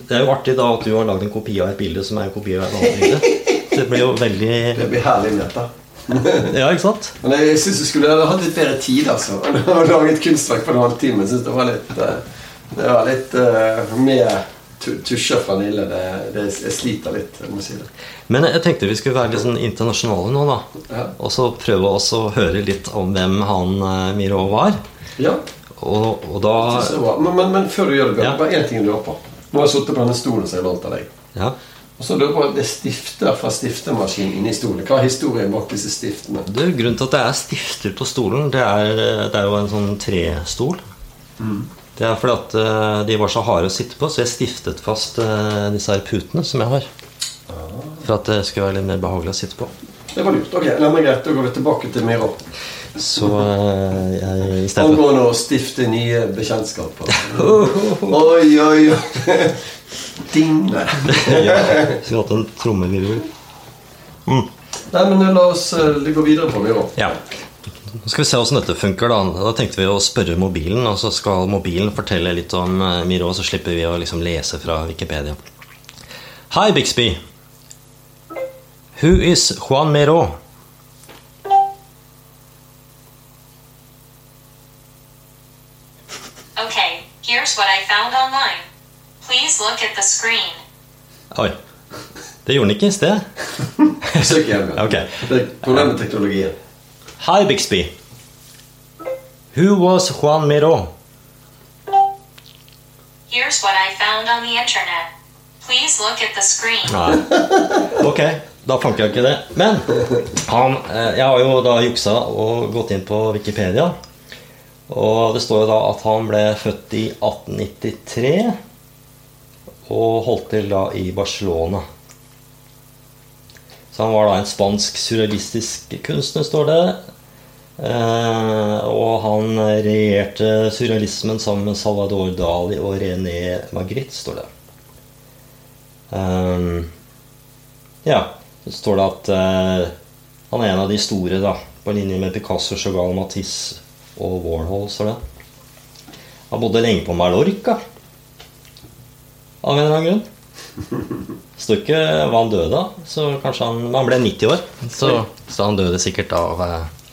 Det er jo artig da at du har lagd en kopi av et bilde som er en kopi av et annet bilde. Det blir jo veldig
[laughs] Det blir herlig med dette.
Ja, ikke sant?
Men jeg syns du skulle ha hatt litt bedre tid, altså. [laughs] Å lage et kunstverk på en halvtime. Jeg synes det var litt, eh, det var litt eh, mer tu- tusjer fra Nille. Det, det, jeg sliter litt, jeg må si det.
Men jeg tenkte vi skulle være litt sånn internasjonale nå, da.
Ja.
Og så prøve også å høre litt om hvem han eh, Miro var.
Ja.
Og, og da
Så det er bra. Men, men, men før du gjør det, Bjørn,
Ah. Ja.
bare én ting jeg lurer på. Nå har jeg sittet på denne stolen som jeg lånte av deg.
Ja.
Og så lurer jeg på Det stifter fra stiftemaskinen inni stolen. Hva er historien bak disse stiftene?
Du, grunnen til at det er stifter på stolen, det er, det er jo en sånn trestol. Det er fordi at eh, de var så harde å sitte på, så jeg stiftet fast eh, disse her putene som jeg har. For at det skulle være litt mer behagelig å sitte på.
Det var lurt. Ok, la meg greit, Da går vi tilbake til Miro.
Så eh, jeg, i stedet for
Angående å stifte nye bekjentskaper. Oi, oi, oi. [laughs] Ding. Nei.
[laughs] ja, Skulle hatt en trommevirvel.
Nei, men la oss eh, gå videre på Miro.
Ja. Nå skal vi se hvordan dette funker. Da Da tenkte vi å spørre mobilen, og så skal mobilen fortelle litt om eh, Miro, så slipper vi å liksom lese fra Wikipedia. Hi, Bixby. Who is Juan Miro?
Okay, here's what I found online. Please look at the screen.
Oi. Det gjorde den ikke i sted.
Søk igjen. Bjørn.
Ok.
Det er problemet med teknologien. [laughs]
Hi, Bixby. Who was Juan Miro?
Here's what I found on the internet. Please look at the screen.
Nei. Ok, da fant jeg ikke det. Men han, eh, jeg har jo da juksa og gått inn på Wikipedia. Og det står jo da at han ble født i 1893. Og holdt til da i Barcelona. Så han var da en spansk surrealistisk kunstner, står det. Eh, og han regjerte surrealismen sammen med Salvador Dali og René Magritte, står det. Ehm, ja, så står det at eh, han er en av de store, da. På linje med Picasso, Chagall, Matisse og Warhol, står det. Han bodde lenge på Mallorca. Av en eller annen grunn. Det står ikke hva han døde av, så kanskje han Men han ble 90 år, så, så han døde sikkert av eh,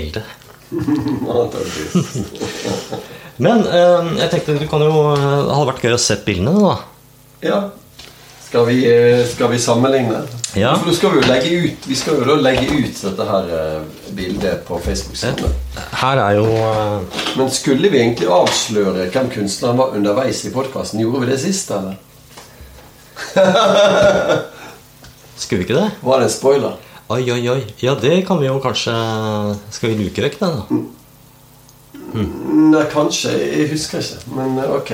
elde.
Antageligvis.
Men eh, jeg tenkte du kan jo eh, Det hadde vært gøy å sett bildene, da.
Ja. Skal vi, eh, skal vi sammenligne?
Ja.
For da skal vi, jo legge ut, vi skal jo da legge ut dette her eh, bildet på Facebook-siden.
Her er jo eh,
Men skulle vi egentlig avsløre hvem kunstneren var underveis i podkasten? Gjorde vi det sist, eller?
Skulle vi ikke det?
Var det en spoiler?
Oi, oi, oi. Ja, det kan vi jo kanskje Skal vi luke vekk den, da?
Nei, kanskje. Jeg husker ikke. Men eh, ok.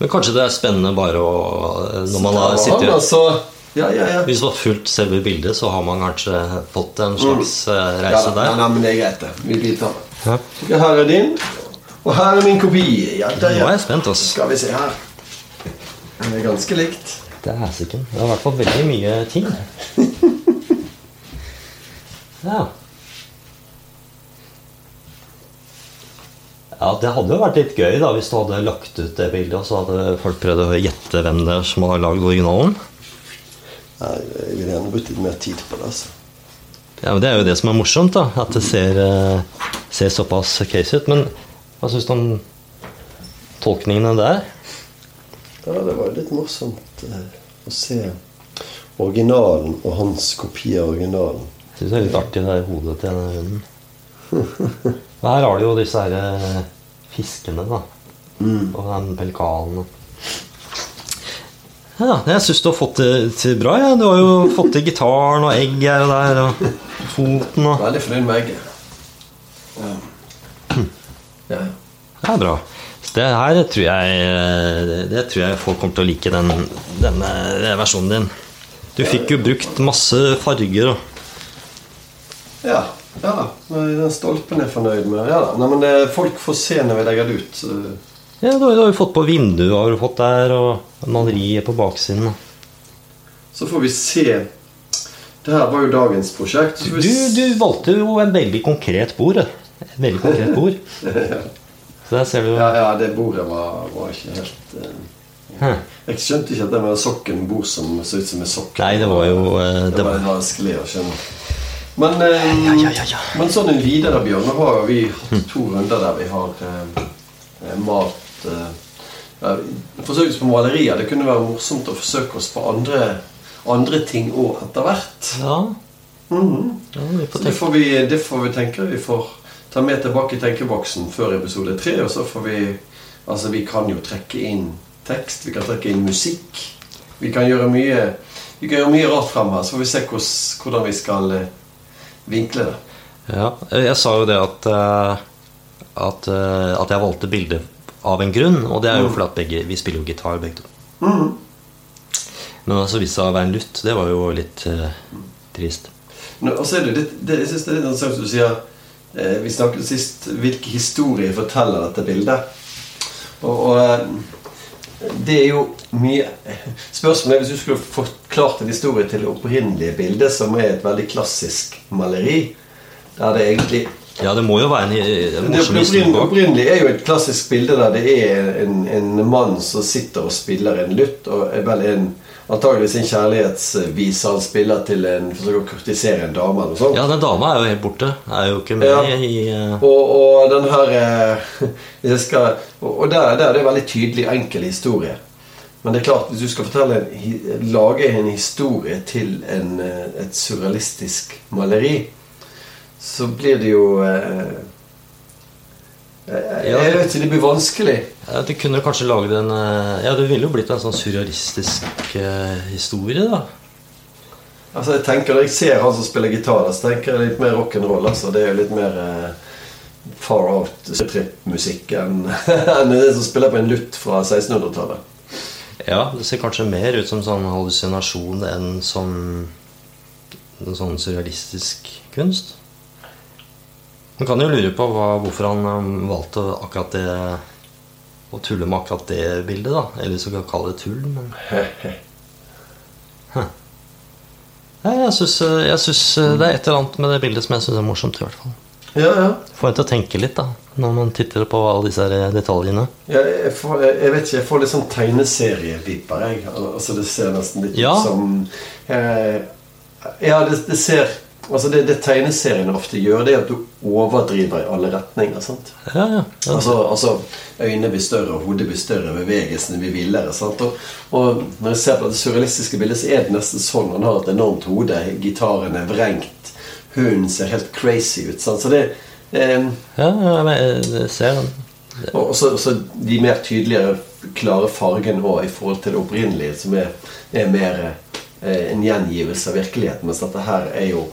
Men kanskje det er spennende bare å Når man har
Der var han,
sittet
altså. Ja, ja, ja.
Hvis man har fulgt selve bildet, så har man kanskje fått en slags eh,
Mm. Ja,
reise
nei,
der.
nei, men det er greit, det. Vi biter den.
Ja.
Ok, Her er din, og her er min kopi. Ja, der,
Nå er jeg spent, ass.
Skal vi se her. Det er ganske likt.
Dæsiken. Det er i hvert fall veldig mye ting.
[laughs]
Ja. Ja, Det hadde jo vært litt gøy da, hvis du hadde lagt ut det bildet, og så hadde folk prøvd å gjette hvem det er som har lagd originalen.
Nei, jeg ville gjerne brukt litt mer tid på det. altså.
Ja, men Det er jo det som er morsomt, da. At det ser, eh, ser såpass case ut. Men hva syns du om tolkningene der.
Ja, det var litt morsomt eh, å se originalen og hans kopi av originalen.
Syns det er litt artig, det der hodet til denne hunden. Og her har du jo disse her eh, fiskene, da. Og den pelikanen. Ja, jeg syns du har fått det til bra. Ja. Du har jo fått til gitaren og egg her og der. Og foten og
Veldig fornøyd med egget. Ja. [clears throat] Ja.
Det er bra. Så det her tror jeg, eh, det, det tror jeg folk kommer til å like, den, denne versjonen din. Du fikk jo brukt masse farger og
Ja. ja da. Nei, Den stolpen er jeg fornøyd med. Ja da. Nei, men det, folk får se når vi legger det ut. eh,
Ja, du har du har jo fått på vinduet har du fått der, og maleriet på baksiden. da.
Så får vi se. Det her var jo dagens prosjekt. Så får
Du,
vi s-
du valgte jo en veldig konkret bord. Et veldig konkret bord. Så der ser du
Ja, ja, det bordet var, var ikke helt eh,
Hm.
Jeg skjønte ikke at det var sokken bord som så ut som en sokk.
Nei, det var jo eh,
Det
det
var
var,
vanskelig å skjønne. Men, eh,
Ja, ja, ja, ja.
men sånn en videre, Bjørn, nå har jo vi hatt to runder der vi har eh, eh, malt eh, ja, Forsøkt på malerier. Det kunne være morsomt å forsøke oss på andre, andre ting òg etter hvert.
ja,
Mhm.
ja, vi
Så
får
det
tenke.
får, vi, det får vi tenke. Vi får ta med tilbake i tenkeboksen før episode tre. Og så får vi Altså, vi kan jo trekke inn tekst. Vi kan trekke inn musikk. Vi kan gjøre mye Vi kan gjøre mye rart frem her. Så får vi se hvordan, hvordan vi skal eh, vinkle det.
Ja, jeg sa jo det at eh, at, eh, at jeg valgte bilde av en grunn, og det er
Mm.
jo fordi at begge, vi spiller jo gitar begge to. Men altså viste det seg å være en lutt. Det var jo litt eh, trist.
Nå, Og så er det litt det, Jeg synes det er litt interessant at du sier eh, Vi snakket sist hvilke historier forteller dette bildet. Og, og eh, det er jo mye Spørsmålet er hvis du skulle forklart en historie til det opprinnelige bildet, som er et veldig klassisk maleri, der det egentlig
Ja, det må jo være en, eh, en
det
morsom historie
opprinnelige,
bak.
er jo et klassisk bilde der det er en, en mann som sitter og spiller en lytt, og er vel en, antageligvis en kjærlighetsvise han spiller til en forsøker å kurtisere en dame eller noe sånt.
Ja, den dama er jo helt borte. Er jo ikke med
Ja.
i eh,
Og, og den her eh, [laughs] hvis jeg skal, Og og der, der er det en veldig tydelig, enkel historie. Men det er klart, hvis du skal fortelle en, hi- lage en historie til en, eh, et surrealistisk maleri, så blir det jo eh, eh,
Ja.
Jeg vet ikke, det blir vanskelig.
Ja, Du kunne kanskje laget en eh, Ja, det ville jo blitt en sånn surrealistisk eh, historie, da.
Altså jeg tenker, Når jeg ser han som spiller gitar, der, så tenker jeg litt mer rock'n'roll. Altså. Det er jo litt mer eh, far out-musikk enn [laughs] enn det som spiller på en lutt fra 1600-tallet.
Ja, Det ser kanskje mer ut som sånn hallusinasjon enn som en sånn surrealistisk kunst. Man kan jo lure på hva, hvorfor han eh, valgte akkurat det å tulle med akkurat det bildet, da. Eller så kan vi kalle det tull, men Huh. Nei, Jeg syns, eh, jeg syns eh, det er et eller annet med det bildet som jeg syns er morsomt, i hvert fall.
Ja, ja.
Får en til å tenke litt, da, når man titter på alle disse her eh, detaljene.
Ja, jeg, får, jeg, jeg vet ikke, jeg får litt sånn tegneserievipper, jeg. Al- Altså, det ser nesten litt
Ja.
ut som eh, Ja, det, det ser Altså, det, det tegneseriene ofte gjør, det er at du overdriver i alle retninger. sant?
Ja, ja. ja.
Altså, altså Øynene blir større, og hodet blir større, bevegelsene blir villere. sant? Og, og når jeg ser på det surrealistiske bildet, så er det nesten sånn han har et enormt hode, gitaren er vrengt, hunden ser helt crazy ut. sant? Så det eh,
ja, ja men jeg jeg ser den.
Og og så, så de mer tydeligere, klare fargene også i forhold til det opprinnelige, som er, er mer eh, en gjengivelse av virkeligheten. Mens dette her er jo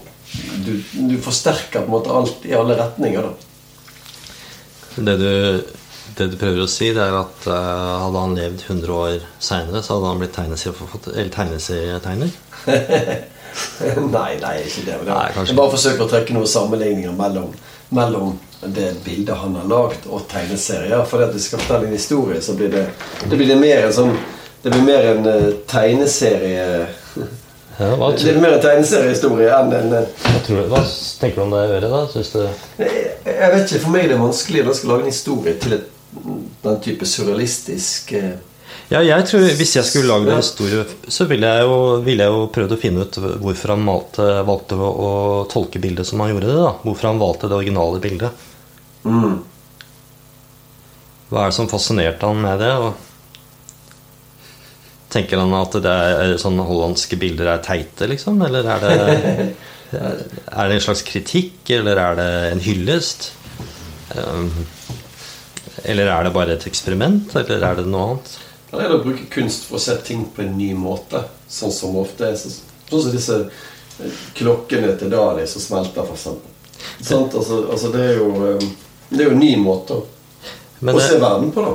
Du, du forsterker på en måte alt i alle retninger, da. [laughs]
Det du, det du prøver å si, det er at eh, hadde han levd 100 år seinere, så hadde han blitt tegneserieforfatter- eller tegneserietegner.
nei, nei, ikke det. det
Nei, kanskje
jeg bare forsøker å trekke noen sammenligninger mellom, mellom det bildet han har lagd, og tegneserier. For at vi skal fortelle en historie, så blir det, det blir mer en sånn Det blir mer en eh, tegneserie
Ja, hva,
Det
tror,
blir mer en tegneseriehistorie enn en eh,
hva, tror, du- hva s- tenker du om det øret, da? Syns du
Jeg jeg vet ikke, For meg er det vanskelig når jeg skal lage en historie til et, den type surrealistisk eh,
Ja, jeg tror Hvis jeg skulle lagd
Ja.
en historie, så ville jeg, jo, ville jeg jo prøvd å finne ut hvorfor han malte, valgte å, å tolke bildet som han gjorde det. da Hvorfor han valgte det originale bildet. Hva er det som fascinerte han med det? Og tenker han at det er sånne hollandske bilder er teite, liksom? Eller er det, er det en slags kritikk, eller er det en hyllest? Um, eller er det bare et eksperiment, eller er det noe annet?
Eller er det å bruke kunst for å se ting på en ny måte? Sånn som ofte er så, Sånn som disse eh, klokkene til Dali som smelter, for eksempel. Sant? Altså, altså det er jo eh, Det er jo en ny måte å,
Men eh,
å se
det,
verden på, da.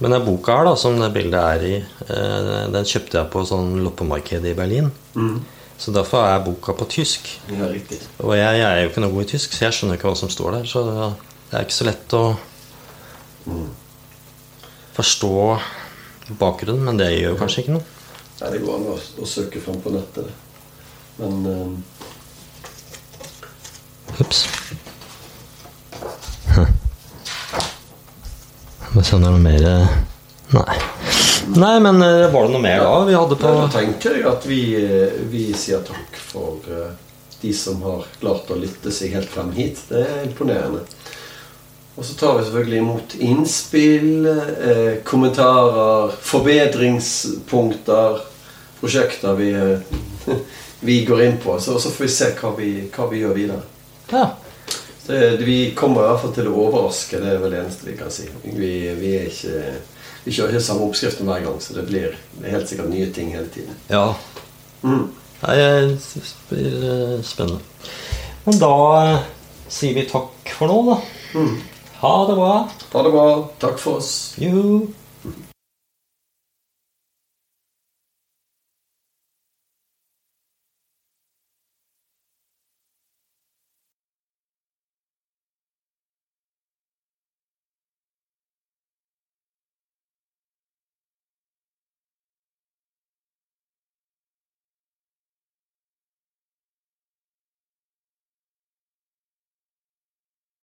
men den boka her, da, som det bildet er i, eh, den kjøpte jeg på sånn loppemarked i Berlin. Så derfor er boka på tysk.
Ja, riktig.
Og jeg, jeg er jo ikke noe god i tysk, så jeg skjønner ikke hva som står der. Så det er ikke så lett å forstå bakgrunnen, men det gjør jo kanskje ikke noe.
Nei, det går an å, å søke fram på nettet, det. Men eh,
Ups. Må se om det er noe mer Nei. Nei, men eh, var det noe mer da vi hadde på
da tenker jeg at vi, eh, vi sier takk for eh, de som har klart å lytte seg helt frem hit. Det er imponerende. Og så tar vi selvfølgelig imot innspill, eh, kommentarer, forbedringspunkter, prosjekter vi, [laughs] eh, vi går inn på. Så, så får vi se hva vi, hva vi gjør videre.
Ja.
Det, vi kommer i hvert fall til å overraske, det er vel det eneste vi kan si. Vi, vi, er ikke, vi kjører ikke samme oppskriften hver gang, så det blir helt sikkert nye ting hele tiden.
ja.
Mm.
Nei, eh, det blir eh, spennende. Men da eh, sier vi takk for nå, da. Ha det bra.
Ha det bra. Takk for oss.
Juhu.